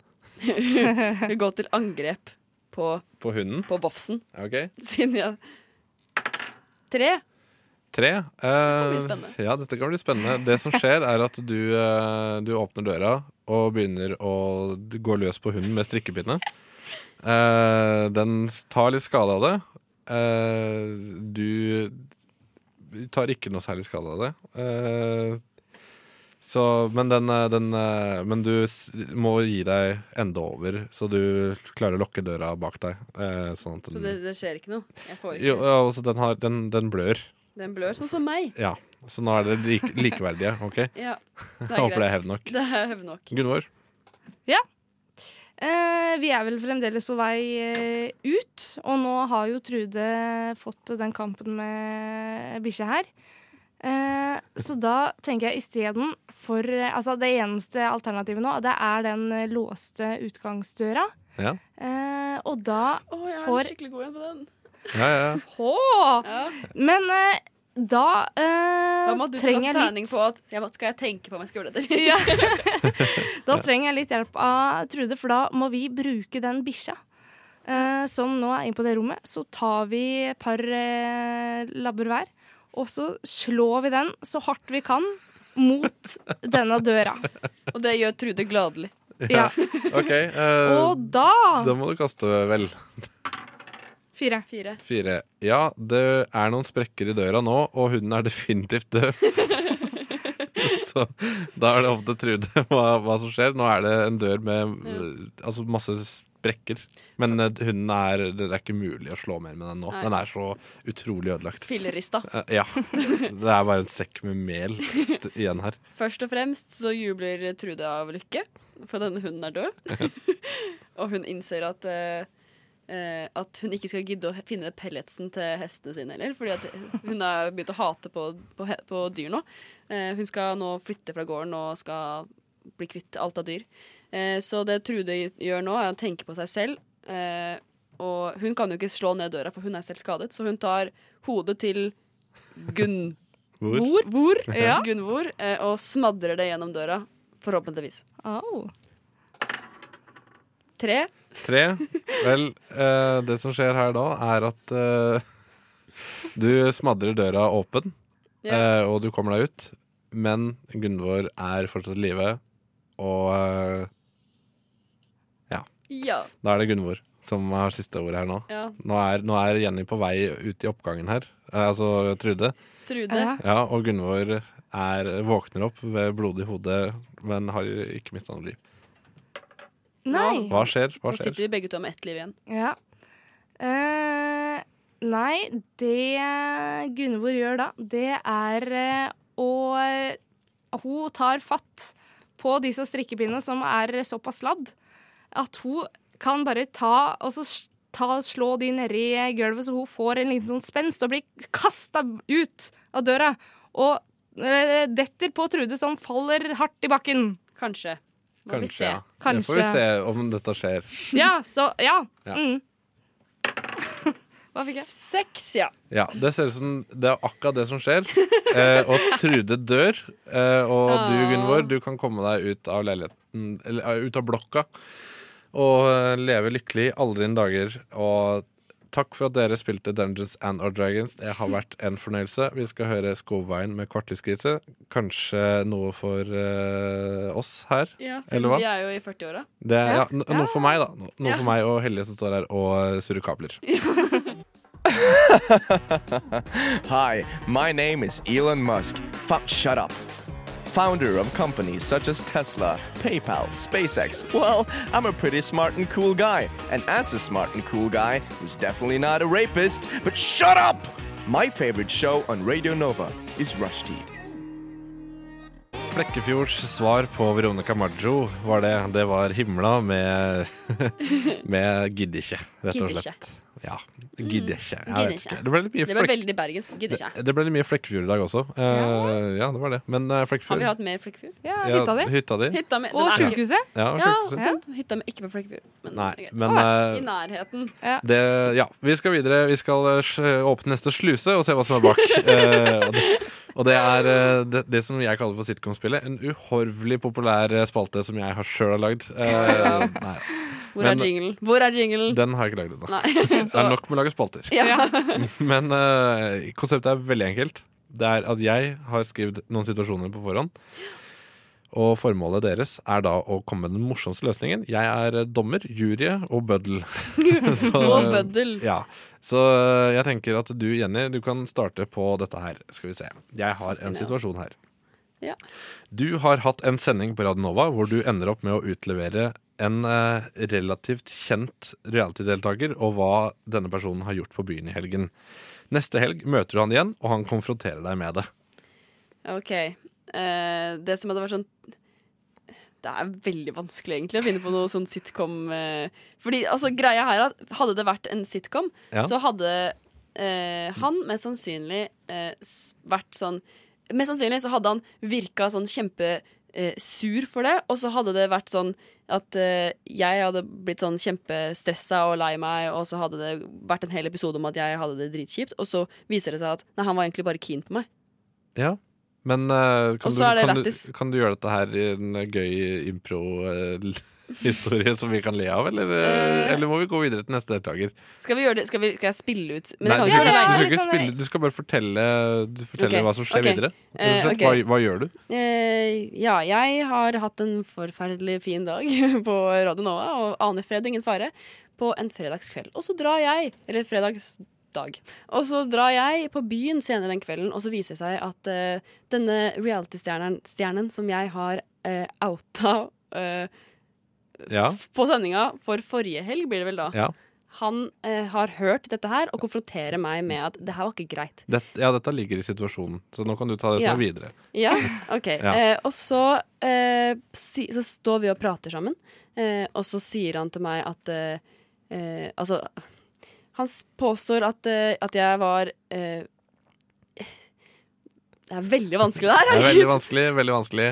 eh, gå til angrep på, På hunden? på Vofsen, OK. siden jeg Tre. Tre. Eh, bli spennende. ja, dette kan bli spennende. Det som skjer, er at du, eh, du åpner døra og begynner å d- gå løs på hunden med strikkepinne. Eh, den s- tar litt skade av det. Eh, du tar ikke noe særlig skade av det. Eh, så, men, den, eh, den, eh, men du s- må gi deg enda over, så du klarer å lukke døra bak deg. Eh, sånn at Så den, det, det skjer ikke noe? Jeg får jo, ikke ja, også den, har, den, den blør. Den blør sånn som meg. Ja, så nå er dere like, likeverdige, ok? Ja, det Jeg er håper det er greit. hevn nok. Det er hevn nok. Gunvor, Eh, vi er vel fremdeles på vei eh, ut, og nå har jo Trude fått den kampen med bikkja her. Eh, så da tenker jeg isteden for eh, Altså, det eneste alternativet nå, det er den eh, låste utgangsdøra. Ja. Eh, og da Å, jeg er For- skikkelig god igjen på den. ja, ja, ja. Hå! Ja. Men eh, da, eh, Da må du ta trenger jeg terning litt på at skal jeg, skal jeg tenke på om jeg skal gjøre det eller Ja. da trenger jeg litt hjelp av Trude, for da må vi bruke den bikkja. eh, som nå er inne på det rommet. Så tar vi et par eh, labber hver, og så slår vi den så hardt vi kan mot denne døra. Og det gjør Trude gladelig. Ja. Ok, eh, Og da da må du kaste vel. Fire. Fire. Fire. Ja, det er noen sprekker i døra nå, og hunden er definitivt død. Så da er det opp til Trude hva, hva som skjer. Nå er det en dør med eh, altså masse sprekker. Men eh, hunden er Det er ikke mulig å slå mer med den nå. Nei. Den er så utrolig ødelagt. Fillerista. Eh, Ja. Det er bare en sekk med mel t- igjen her. Først og fremst så jubler Trude av lykke, for denne hunden er død. og hun innser at, eh, eh, at hun ikke skal gidde å he- finne pelletsen til hestene sine heller. Fordi at hun har begynt å hate på, på, he- på dyr nå. Eh, hun skal nå flytte fra gården og skal bli kvitt alt av dyr. Eh, så det Trude gjør nå, er å tenke på seg selv. Eh, og hun kan jo ikke slå ned døra, for hun er selv skadet, så hun tar hodet til Gunn. Hvor? Hvor? Ja. Gunvor. eh, Og smadrer det gjennom døra. Forhåpentligvis. Au. Tre. Tre. Vel, eh, det som skjer her da, er at eh, du smadrer døra åpen, eh, og du kommer deg ut. Men Gunvor er fortsatt i live, og eh, Ja. Da er det Gunvor som har siste ordet her nå. Ja. Nå, er, nå er Jenny på vei ut i oppgangen her. Eh, Altså Trude. Trude. Ja. Ja, og Gunvor er, våkner opp med blod i hodet, men har ikke mista noe liv. Nei. Hva skjer? Hva Nå skjer? sitter vi begge to med ett liv igjen. Ja. Eh, nei, det Gunvor gjør da, det er eh, å Hun tar fatt på disse strikkepinnene som er såpass sladd at hun kan bare ta og så s- ta, slå de nedi gulvet, så hun får en liten sånn spenst og blir kasta ut av døra. Og eh, detter på Trude, som faller hardt i bakken. Kanskje. Må vi Kanskje, se. ja. Det får vi Kanskje. se om dette skjer. Ja, så Ja. Ja. Mm. Hva fikk jeg? Seks, ja. Ja, Det ser ut som det er akkurat det som skjer. Eh, og Trude dør. Eh, og du, Ah. Gunvor, du kan komme deg ut av leiligheten Eller eh, ut av blokka. Og eh, leve lykkelig i alle dine dager. Og takk for at dere spilte Dungeons and Our Dragons. Det har vært en fornøyelse. Vi skal høre Skogveien med Kvartidskrise. Kanskje noe for eh, oss her. ja selv Eller om hva? vi er jo i 40-åra. Det, ja, n- noe for meg, da. No- Noe for meg og Hellige som står her og surrer kabler. Hi, my name is Elon Musk. Fu- shut up. Founder of companies such as Tesla, PayPal, SpaceX. Well, I'm a pretty smart and cool guy. And as a smart and cool guy, who's definitely not a rapist, but shut up! My favorite show on Radio Nova is Rushdie. Flekkefjords svar på Veronica Maggio var det. Det var himla med Med gidder ikke, rett og Gidder slett. Ja, gidder ikke. Mm, Jeg vet gidder ikke. ikke. Det ble litt mye Det ble flekk... veldig bergensk. Gidder ikke. Det, det ble litt mye Flekkefjord i dag også. Eh, ja, det var det. Men eh, Har Flekkefjord vi hatt mer Flekkefjord? Ja, Ja, hytta di. hytta di. Hytta mi- Og den er ikke- sykehuset. Ja, Ja, sjukehuset. sant? Sånn? Hytta mi ikke på Flekkefjord. Men, Nei, det er greit. men, Å, eh, I nærheten. Det, ja, vi skal videre. Vi skal eh, sj- åpne neste sluse og se hva som er bak. Eh, og, det, og det er eh, det, det som jeg kaller for sitcom-spillet. En uhorvelig populær eh, spalte som jeg har sjøl har lagd. Eh, nei, Hvor men- er jinglen? Hvor er jinglen? den har jeg ikke lagd ennå. Nei. Det er nok med å lage spalter. Ja. Men eh, konseptet er veldig enkelt. Det er at jeg har skrevet noen situasjoner på forhånd. Og formålet deres er da å komme med den morsomste løsningen. Jeg er eh, dommer, jury og bøddel. Så, Og eh, bøddel. Ja. Så eh, jeg tenker at du, Jenny, du kan starte på dette her. Skal vi se. Jeg har en situasjon her. Ja. Du har hatt en sending på Radio Nova hvor du ender opp med å utlevere en eh, relativt kjent reality-deltaker og hva denne personen har gjort på byen i helgen. Neste helg møter du han igjen, og han konfronterer deg med det. OK. Eh, det som hadde vært sånn Det er veldig vanskelig egentlig å finne på noe sånn sitcom eh, Fordi altså, greia her er at hadde det vært en sitcom, Ja. så hadde eh, han mest sannsynlig eh, s- vært sånn Mest sannsynlig så hadde han virka sånn kjempe eh, sur for det, og så hadde det vært sånn at eh, jeg hadde blitt sånn kjempestressa og lei meg, og så hadde det vært en hel episode om at jeg hadde det dritkjipt, og så viser det seg at nei, han var egentlig bare keen på meg. Ja. Men eh, Og kan, du, så er det kan, du, lættis. kan du gjøre dette her i en gøy impro-historie som vi kan le av, eller, eh, eller må vi gå videre til neste deltaker? Skal vi gjøre det? Skal, vi, skal jeg spille ut? Nei, du, jeg skal kan ikke, du, ikke skal gjøre det ikke alene. spille, du skal bare fortelle, du forteller Ok, hva som skjer ok. videre. Eh, Rett og slett, ok. Hva, hva gjør du? Eh, ja, jeg har hatt en forferdelig fin dag på Radio Nova og aner fred og ingen fare på en fredagskveld. Og så drar jeg Eller fredagsdag. Og så drar jeg på byen senere den kvelden, og så viser det seg at eh, denne reality-stjernen stjernen som jeg har eh, outa eh, Ja. f- på sendinga for forrige helg, blir det vel da, Ja. han eh, har hørt dette her og konfronterer meg med at det her var ikke greit. Dette, ja, dette ligger i situasjonen, så nå kan du ta det som Ja. er videre. Ja, ok. Ja. Eh, og så, eh, si, så står vi og prater sammen, eh, og så sier han til meg at eh, eh, Altså, han s- påstår at, eh, at jeg var eh, Det er veldig vanskelig, det her. Det er herregud. veldig vanskelig, veldig vanskelig.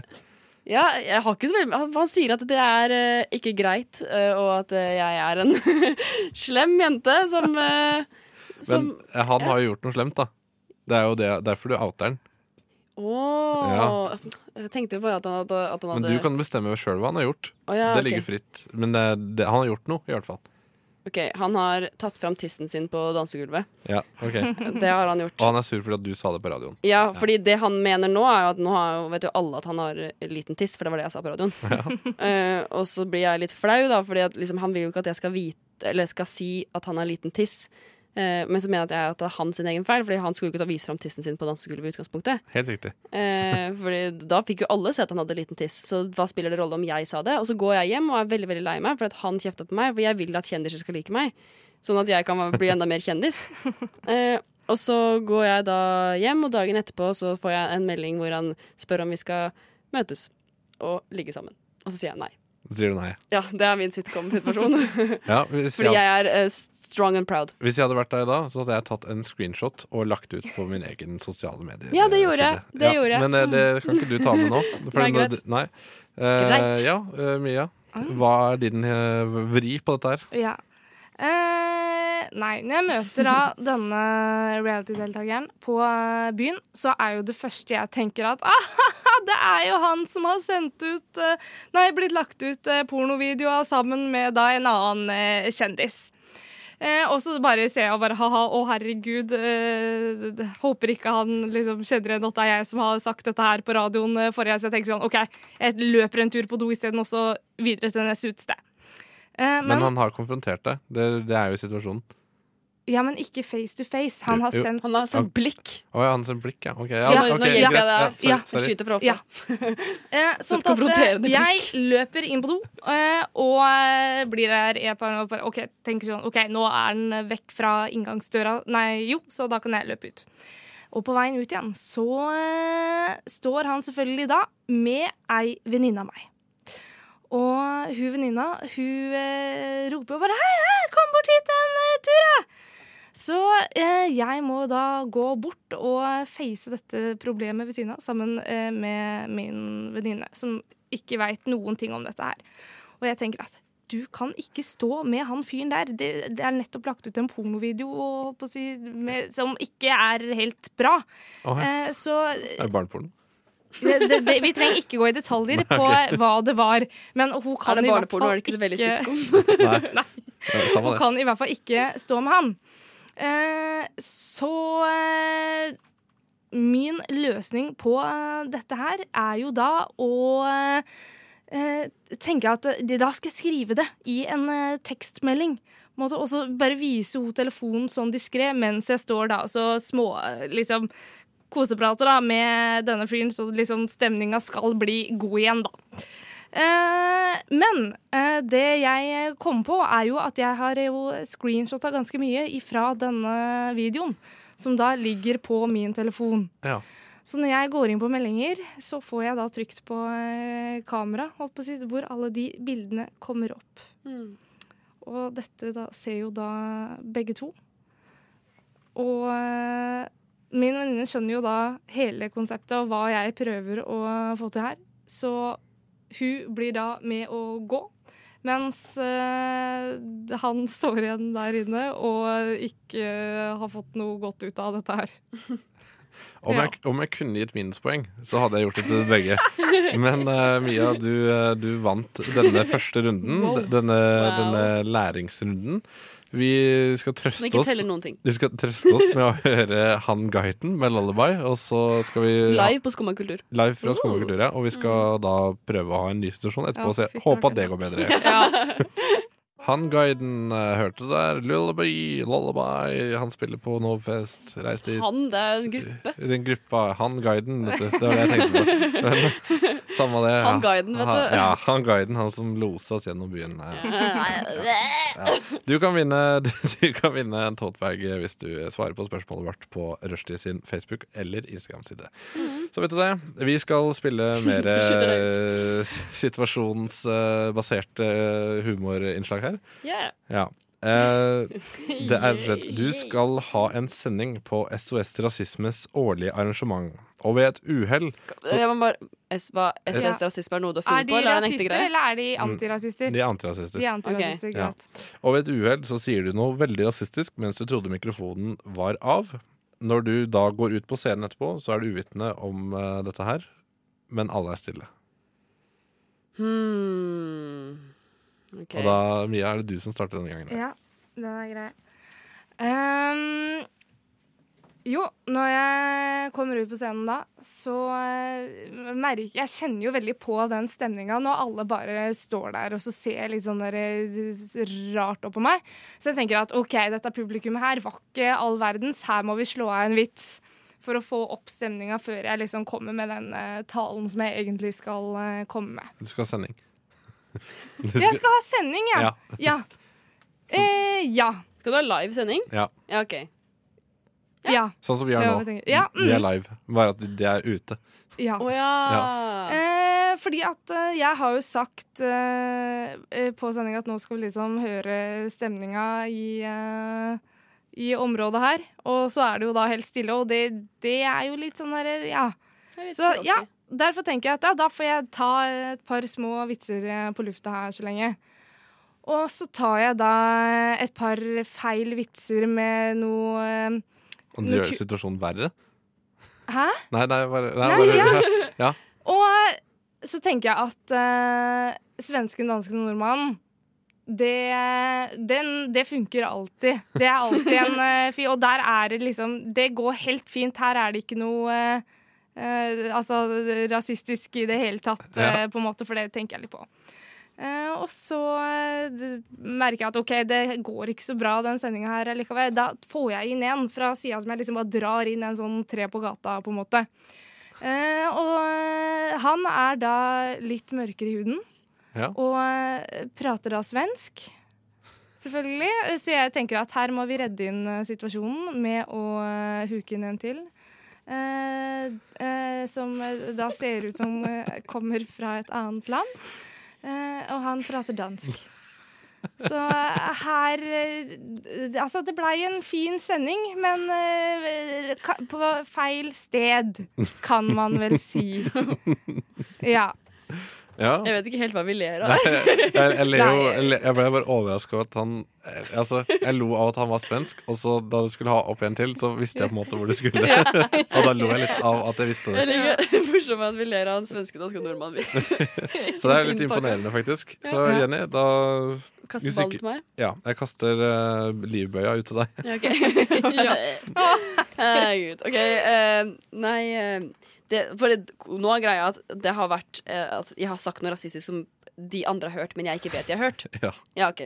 Ja, jeg har ikke så veldig Han, han sier at det er eh, ikke greit, eh, og at eh, jeg er en slem jente som eh, Men Som eh, han har jo gjort noe slemt, da. Det er jo det, derfor du outer den. Åh Jeg tenkte bare at han hadde, at han Men hadde du kan bestemme sjøl hva han har gjort. Å ja, det ok. eh, ligger fritt. Men det, det, han har gjort noe, i hvert fall. Ok, Han har tatt fram tissen sin på dansegulvet. Ja, ok Det har han gjort. Og han er sur fordi at du sa det på radioen. Ja, fordi det han mener nå, er jo at nå har, jo- vet jo alle at han har eh, liten tiss, for det var det jeg sa på radioen. Eh, og så blir jeg litt flau, da, fordi at, liksom, han vil jo ikke at jeg skal vite Eller skal si at han har liten tiss. Eh, men så mener jeg at, jeg, at det er hans sin egen feil, fordi han skulle jo ikke ta vise fram tissen sin på dansegulvet i utgangspunktet. Helt riktig. Eh, fordi da fikk jo alle se at han hadde liten tiss, så hva spiller det rolle om jeg sa det? Og så går jeg hjem og er veldig veldig lei meg for at han kjefta på meg, for jeg vil at kjendiser skal like meg. Sånn at jeg kan bli enda mer kjendis. Eh, og så går jeg da hjem, og dagen etterpå så får jeg en melding hvor han spør om vi skal møtes og ligge sammen. Og så sier jeg nei. Så sier du nei. Ja, det er min sitcom-situasjon. Ja, hvis, Fordi jeg, jeg er eh, strong and proud. hvis jeg hadde vært deg da, så hadde jeg tatt en screenshot og lagt ut på min egen sosiale medier. Ja, det gjorde jeg. side. Det gjorde jeg. Men eh, det kan ikke du ta med nå. for Nei, nå- greit. Ah, Nei. Eh, Greit. ja, eh, Mia. Hva er din eh, vri på dette her? Ja. Eh, nei, når jeg møter da denne reality-deltakeren på eh, byen, så er jo det første jeg tenker at ah, det er jo han som har sendt ut eh, Nei, blitt lagt ut eh, pornovideoer sammen med da en annen eh, kjendis. Eh, og så bare ser jeg og bare ha-ha, å herregud. Eh, d- håper ikke han liksom kjenner igjen at det er jeg som har sagt dette her på radioen eh, forrige. Så jeg tenker sånn, OK, jeg løper en tur på do isteden, og så videre til neste utested. Eh, Men, han har konfrontert deg. Det, det er jo situasjonen. ja, men ikke face to face. Han har Jo. sendt Han har sendt blikk. Å ja, han som blikk, ja. Ok, ja, Ja, ok, nå gir jeg greit. deg det. Ja, Ja, sorry, sorry. Skyter fra hofta. Ja. Eh, sånn at Så eh, konfronterende jeg løper inn på do eh, og eh, blir der i et par minutter. Ok, tenker sånn, ok, nå er den vekk fra inngangsdøra. Nei, jo, så da kan jeg løpe ut. Og på veien ut igjen så eh, står han selvfølgelig da med ei venninne av meg. Og hun venninna, hun eh, roper jo bare 'hei, hei, kom bort hit en eh, tur', da'. Så eh, jeg må da gå bort og face dette problemet ved siden av, sammen eh, med min venninne, som ikke veit noen ting om dette her. Og jeg tenker at du kan ikke stå med han fyren der. Det, det er nettopp lagt ut en pornovideo og, holdt på å si, med, som ikke er helt bra. Å, ja. Eh, så Det er barneporno. det, det, det, vi trenger ikke gå i detaljer Nei, på ok. hva det var. Men hun kan Er det i hvert barneporno, fall er det ikke så veldig sitcom? Nei. Ja, Samme Hun det. kan i hvert fall ikke stå med han. Eh, så eh, min løsning på eh, dette her er jo da å eh, tenke at eh, da skal jeg skrive det i en eh, tekstmelding. På en måte, Og så bare vise henne telefonen sånn diskré mens jeg står da og så små, eh, liksom, koseprater da, med denne fyren, så liksom stemninga skal bli god igjen, da. Eh, men eh, det jeg kom på, er jo at jeg har jo screenshotta ganske mye ifra denne videoen, som da ligger på min telefon. Ja. Så når jeg går inn på meldinger, så får jeg da trykt på eh, kamera, holdt på å si, hvor alle de bildene kommer opp. Og dette da, ser jo da begge to. Og eh, min venninne skjønner jo da hele konseptet og hva jeg prøver å få til her. Så hun blir da med å gå. Mens eh, han står igjen der inne og ikke eh, har fått noe godt ut av dette her. Om, jeg, om jeg kunne gitt minuspoeng, så hadde jeg gjort det til begge. Men eh, Mia, du, eh, du vant denne første runden, Wow. d- denne, Wow. denne læringsrunden. Vi skal trøste Som ikke oss teller noen ting. Vi skal trøste oss med å høre Han Guiden med Lullaby, og så skal vi Live på Skumma kultur. live fra Skomakultur, ja. Og vi skal da prøve å ha en ny situasjon etterpå, Ja, så fy jeg håper søren. at det går bedre. Han Guiden eh, hørte der. Lullaby, lullaby. Han spiller på Novfest. Reis dit. Han, det er en gruppe. I den gruppa Han guiden, vet du. Det var det jeg tenkte på. Men, samme det. Han guiden, vet du. Han, ja, han guiden, han som loser oss gjennom byen. Ja. Du, kan vinne, du kan vinne en toatbag hvis du svarer på spørsmålet vårt på Rushdie sin Facebook- eller Instagram-side. Mhm. Så vet du det. Vi skal spille mer Du skyter eh, situasjonsbasert eh, humorinnslag her. Yeah. Ja. Eh, det er rett og slett Du skal ha en sending på SOS til rasismes årlige arrangement. Og ved et uhell Så jeg må bare S- Hva Ja. SOS rasisme er noe du har Er funnet de på? Eller er det en rasister, ekte greie? eller er de antirasister? Mm. De er antirasister. De er antirasister, Ja. greit. Og ved et uhell så sier du noe veldig rasistisk mens du trodde mikrofonen var av. Når du da går ut på scenen etterpå, så er du uvitende om eh, dette her. Men alle er stille. Hmm. Ok. Hmm, Og da, Mia, er det du som starter denne gangen. Ja. Den er grei. Ehm, jo, når jeg kommer ut på scenen da, så eh, merker jeg kjenner jo veldig på den stemninga når alle bare står der og så ser litt sånn der, eh, rart opp på meg. Så jeg tenker at OK, dette publikummet her var ikke all verdens, her må vi slå av en vits. For å få opp stemninga før jeg liksom kommer med den eh, talen som jeg egentlig skal eh, komme med. Du skal ha sending. Du Jeg skal ha sending, ja. Ja. Ja. Eh, ja. Skal du ha live sending? Ja. Ja, OK. Ja. Sånn som vi er Det nå. var det jeg tenkte. Ja, Vi er mm. live. Bare at de er ute. Ja. Ja. Eh, fordi at eh, jeg har jo sagt eh, eh, på sending at nå skal vi liksom høre stemninga i, eh, i området her. Og så er det jo da helt stille, og det, det er jo litt sånn derre Ja. Så ja, derfor tenker jeg at ja, da får jeg ta et par små vitser eh, på lufta her så lenge. Og så tar jeg da et par feil vitser med noe eh, Og det noe gjør ku- situasjonen verre. Hæ? Nei, nei, bare, nei, Nei, bare ja. Og så tenker jeg at eh, svensken, dansken og nordmannen det, den, det funker alltid. Det er alltid en eh, fi- Og der er det liksom Det går helt fint. Her er det ikke noe eh, eh, altså rasistisk i det hele tatt, eh, Ja. på en måte, for det tenker jeg litt på. Eh, og så eh, d- merker jeg at OK, det går ikke så bra, den sendinga her likevel. Da får jeg inn en fra sida som jeg liksom bare drar inn en sånn tre på gata, på en måte. Eh, og eh, han er da litt mørkere i huden. Ja. Og eh, prater da svensk, selvfølgelig. Eh, Så jeg tenker at her må vi redde inn eh, situasjonen med å eh, huke inn en til. Eh, eh, som eh, da ser ut som eh, kommer fra et annet land. Eh, og han prater dansk. Så eh, her eh, d- Altså, det blei en fin sending, men eh, ka- på feil sted, kan man vel si. Ja. ja. Jeg vet ikke helt hva vi ler av. Nei, jeg, jeg, ler jo, Nei. jeg le- jeg ble bare overraska over at han eh, Altså, jeg lo av at han var svensk, og så da du skulle ha opp en til, så visste jeg på en måte hvor du skulle. Ja. Og da lo jeg litt av at jeg visste Jeg det. liker morsomt at vi ler av en svenske danske nordmann-vits. Så det er litt imponerende, faktisk. Så Ja. Jenny, da Kaster hvis ballen ikke- til meg? Ja. Jeg kaster eh, livbøya ut til deg. Ja, ok. ja. Herregud. Ok, eh, nei eh, det, For det, nå er greia at det har vært eh, at jeg har sagt noe rasistisk som de andre har hørt, men jeg ikke vet de har hørt. Ja. Ja, ok.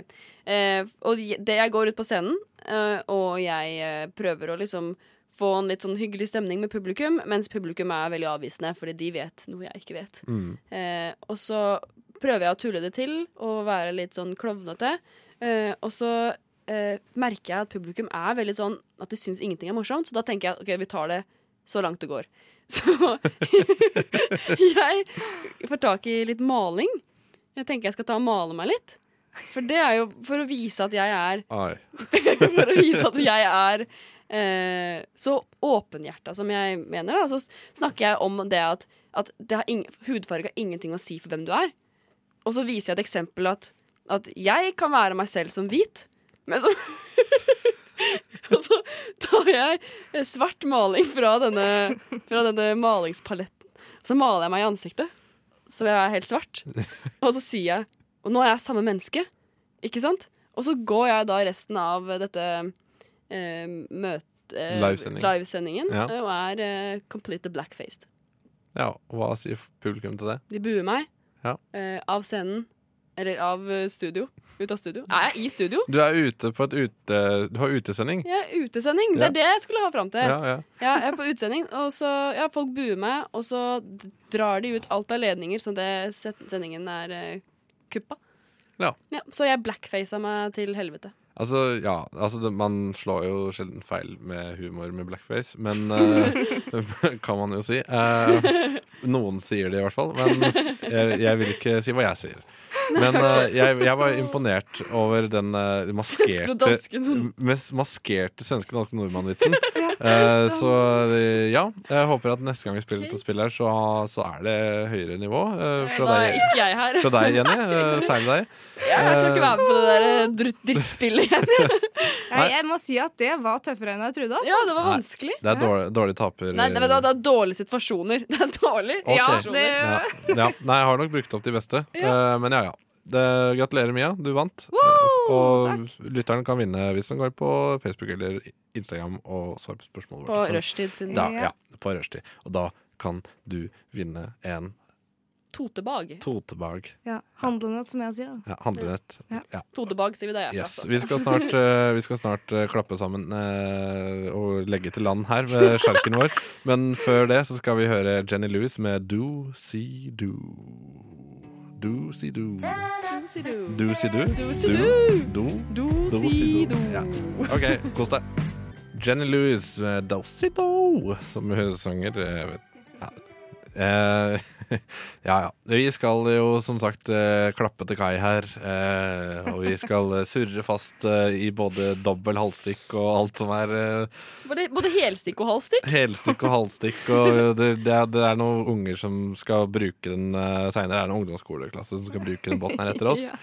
Eh, og je- det jeg går ut på scenen, eh, og jeg eh, prøver å liksom få en litt sånn hyggelig stemning med publikum, mens publikum er veldig avvisende, fordi de vet noe jeg ikke vet. Mm. Eh, og så prøver jeg å tulle det til og være litt sånn klovnete. Eh, og så eh, merker jeg at publikum er veldig sånn at de syns ingenting er morsomt, så da tenker jeg at OK, vi tar det så langt det går. Så jeg får tak i litt maling. Jeg tenker jeg skal ta og male meg litt. For det er jo for å vise at jeg er Ai. For å vise at jeg er eh, så åpenhjerta som jeg mener. Da. Så s- snakker jeg om det at, at det har ing hudfarge har ingenting å si for hvem du er. Og så viser jeg et eksempel at, at jeg kan være meg selv som hvit, men så Og så tar jeg eh, svart maling fra denne, fra denne malingspaletten. Så maler jeg meg i ansiktet, så jeg er helt svart. Og så sier jeg Og nå er jeg samme menneske, ikke sant? Og så går jeg da resten av dette eh, møt... eh, Livesending. livesendingen Ja. eh, og er eh, completely blackfaced. Ja, og hva sier publikum til det? De buer meg Ja. eh, av scenen, eller av eh, studio. Ut av studio. Er jeg i studio? Du er ute på et ute... Du har utesending. Jeg er utesending. Ja. Det er det jeg skulle ha fram til. Ja, ja. jeg er på utesending, og så ja, folk buer meg, og så d- drar de ut alt av ledninger, så det set- sendingen er eh, kuppa. Ja. Ja, så jeg blackfacet meg til helvete. Altså, ja, altså det, Man slår jo sjelden feil med humor med blackface, men eh, kan man jo si. Eh, noen sier det i hvert fall, men jeg, jeg vil ikke si hva jeg sier. Men eh, jeg, jeg var imponert over den eh, Svenske og maskerte dansken. mest maskerte svenske danske nordmann-vitsen. Eh, så eh, ja, jeg håper at neste gang vi spiller et spill her, så, så er det høyere nivå. eh, Da fra, er deg, ikke jeg her. fra deg, Jenny. eh, særlig deg. Jeg skal Eh, ikke være med på det der eh, dritt- drittspillet igjen. Nei, jeg må si at det var tøffere enn jeg trodde. Altså. Ja, det var vanskelig. Det er dårlig, dårlig taper. Nei, det, det er dårlige situasjoner. Det er dårlig. Ok. situasjoner. ja. ja. Nei, jeg har nok brukt opp de beste. Eh, men ja, ja. det, gratulerer, Mia. Du vant. Eh, Woo! og lytteren kan vinne hvis den går på Facebook eller Instagram og svarer på spørsmål. På rushtid sin. Da, ja, på rushtid. Og da kan du vinne en Totebag. totebag. Ja, Handlenett, som jeg sier. da. Ja, handlenett. Ja. Ja. Totebag, sier vi der jeg er Yes. fra. Vi skal snart, eh, vi skal snart eh, klappe sammen eh, og legge til land her ved sjarken vår. Men før det så skal vi høre Jenny Lewis med Do See Do. Do See Do. Do Si Do. Do Si Do. Do. Do Do Si Si Do. Do. Ja. OK, kos deg. Jenny Lewis med Do Si Do, som hun synger. eh, vet- Ja. Eh, ja, ja. Vi skal jo som sagt eh, klappe til kai her. Eh, og vi skal eh, surre fast eh, i både dobbel halvstikk og alt som er eh, Både, både helstikk og halvstikk. helstikk og halvstikk. Og det, det, er, det er noen unger som skal bruke den eh, seinere. Det er en ungdomsskoleklasse som skal bruke den båten her etter oss. Ja.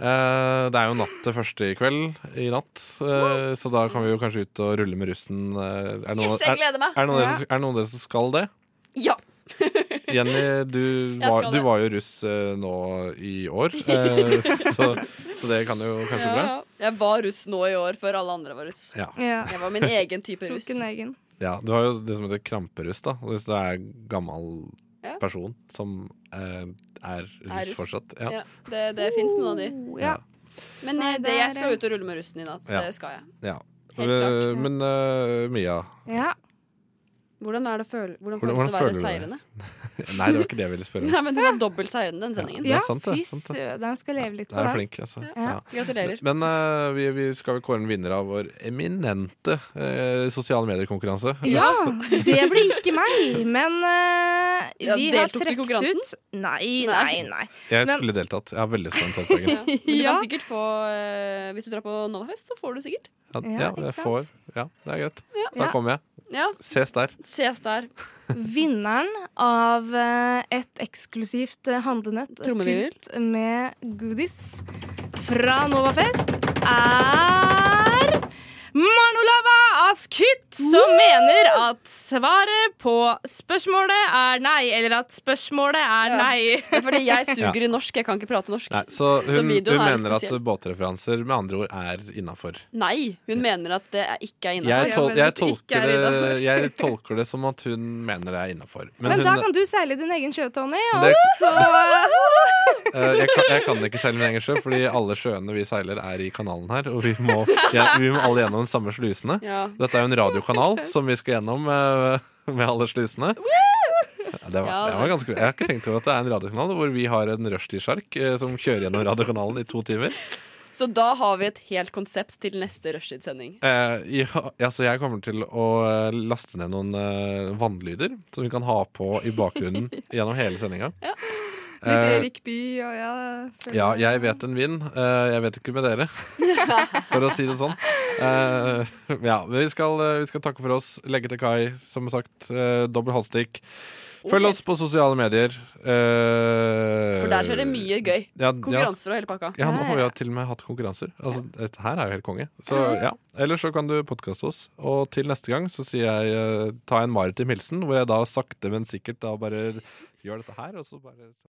Eh, det er jo natt til første i kveld, i natt, eh, så da kan vi jo kanskje ut og rulle med russen. eh, Er det noen- Yes, jeg gleder meg. Er, er det noen av Ja. dere som- er det noen av dere som skal det? Ja! Jenny, du Jeg var, skal du det. var jo russ eh, nå i år, eh, så, så det kan jo kanskje Ja, bra. ja. Jeg var russ nå i år, før alle andre var russ. Ja. Ja. Jeg var min egen type Tok russ. en egen. Ja, Du har jo det som heter kramperuss, da. Og Hvis du er gammel Ja. person som eh, er russ Er russ. fortsatt. Ja. Ja. det det fins noen av de. Oh, Ja. Men Nei, eh, det, der, jeg skal eh, ut og rulle med russen i natt. Ja. Det skal jeg. ja. Helt klart. Eh, Men eh, Mia Ja. Hvordan, er det føl hvordan, Hvordan- føles det å hvordan være føler du seirende? Nei, det var ikke det jeg ville spørre om. Nei, men Hun er dobbelt seirende, den sendingen. Ja, ja det er sant, det. fy Sant, søderen skal leve litt på Nei, jeg er det. flink, altså. Ja. Ja. Gratulerer. Men eh, vi, vi skal vel kåre en vinner av vår eminente eh, sosiale medier-konkurranse. Ja, det blir ikke meg, men eh, Ja, vi har deltok du i trukket konkurransen? ut Nei, nei, Nei. nei. Jeg Men- skulle deltatt. Jeg har veldig spent deltaking. Men du Ja. kan sikkert få eh, Hvis du drar på Novafest, så får du sikkert. Ja, Ja, ja, ikke jeg sant? får. Ja, det er greit. Da Ja. kommer jeg. Ja, Ses der. Ses der. Vinneren av eh, et eksklusivt eh, handlenett Trommevirvel. fylt med goodies fra Novafest er Manolava Askhytt, som mener at svaret på spørsmålet er nei, eller at spørsmålet er Ja. nei. Det er fordi jeg suger i norsk. Jeg kan ikke prate norsk. Nei, Nei, så hun, videoen hun er litt mener at spesiell. båtreferanser med andre ord er innafor. hun mener at det er ikke er Jeg, innafor. tol mener jeg, at det ikke tolker er det, innenfor. jeg tolker det som at hun mener det er innafor. Men, Men da hun, kan du seile din egen sjø, Tony. Det- Og så eh, jeg, kan, jeg kan ikke seile min egen sjø, fordi alle sjøene vi seiler, er i kanalen her. Og vi må, ja, vi må alle gjennom de samme slusene. Ja. Dette er jo en radiokanal som vi skal gjennom eh, med alle slusene. Ja, Det var, Ja, det var ganske, jeg har ikke tenkt over at det er en radiokanal hvor vi har en rushtidssjark eh, som kjører gjennom radiokanalen i to timer. Så da har vi et helt konsept til neste rushtidssending. Eh, ja, altså jeg kommer til å eh, laste ned noen eh, vannlyder som vi kan ha på i bakgrunnen gjennom hele sendinga. Litt Eh, Erik By og ja, føler ja, jeg vet en vind. Eh, jeg vet ikke med dere, for å si det sånn. Eh, ja, men vi skal, eh, vi skal takke for oss. Legge til kai, som sagt. Eh, dobbel halvstikk. Følg oss på sosiale medier. Eh, For der skjer det mye gøy. ja, ja, Konkurranser og hele pakka. Ja, nå har vi jo til og med hatt konkurranser. Altså, dette her er jo helt konge. Så ja, Ellers så kan du podkaste oss. Og til neste gang så sier jeg eh, ta en maritim hilsen, hvor jeg da sakte, men sikkert da bare gjør dette her, og så bare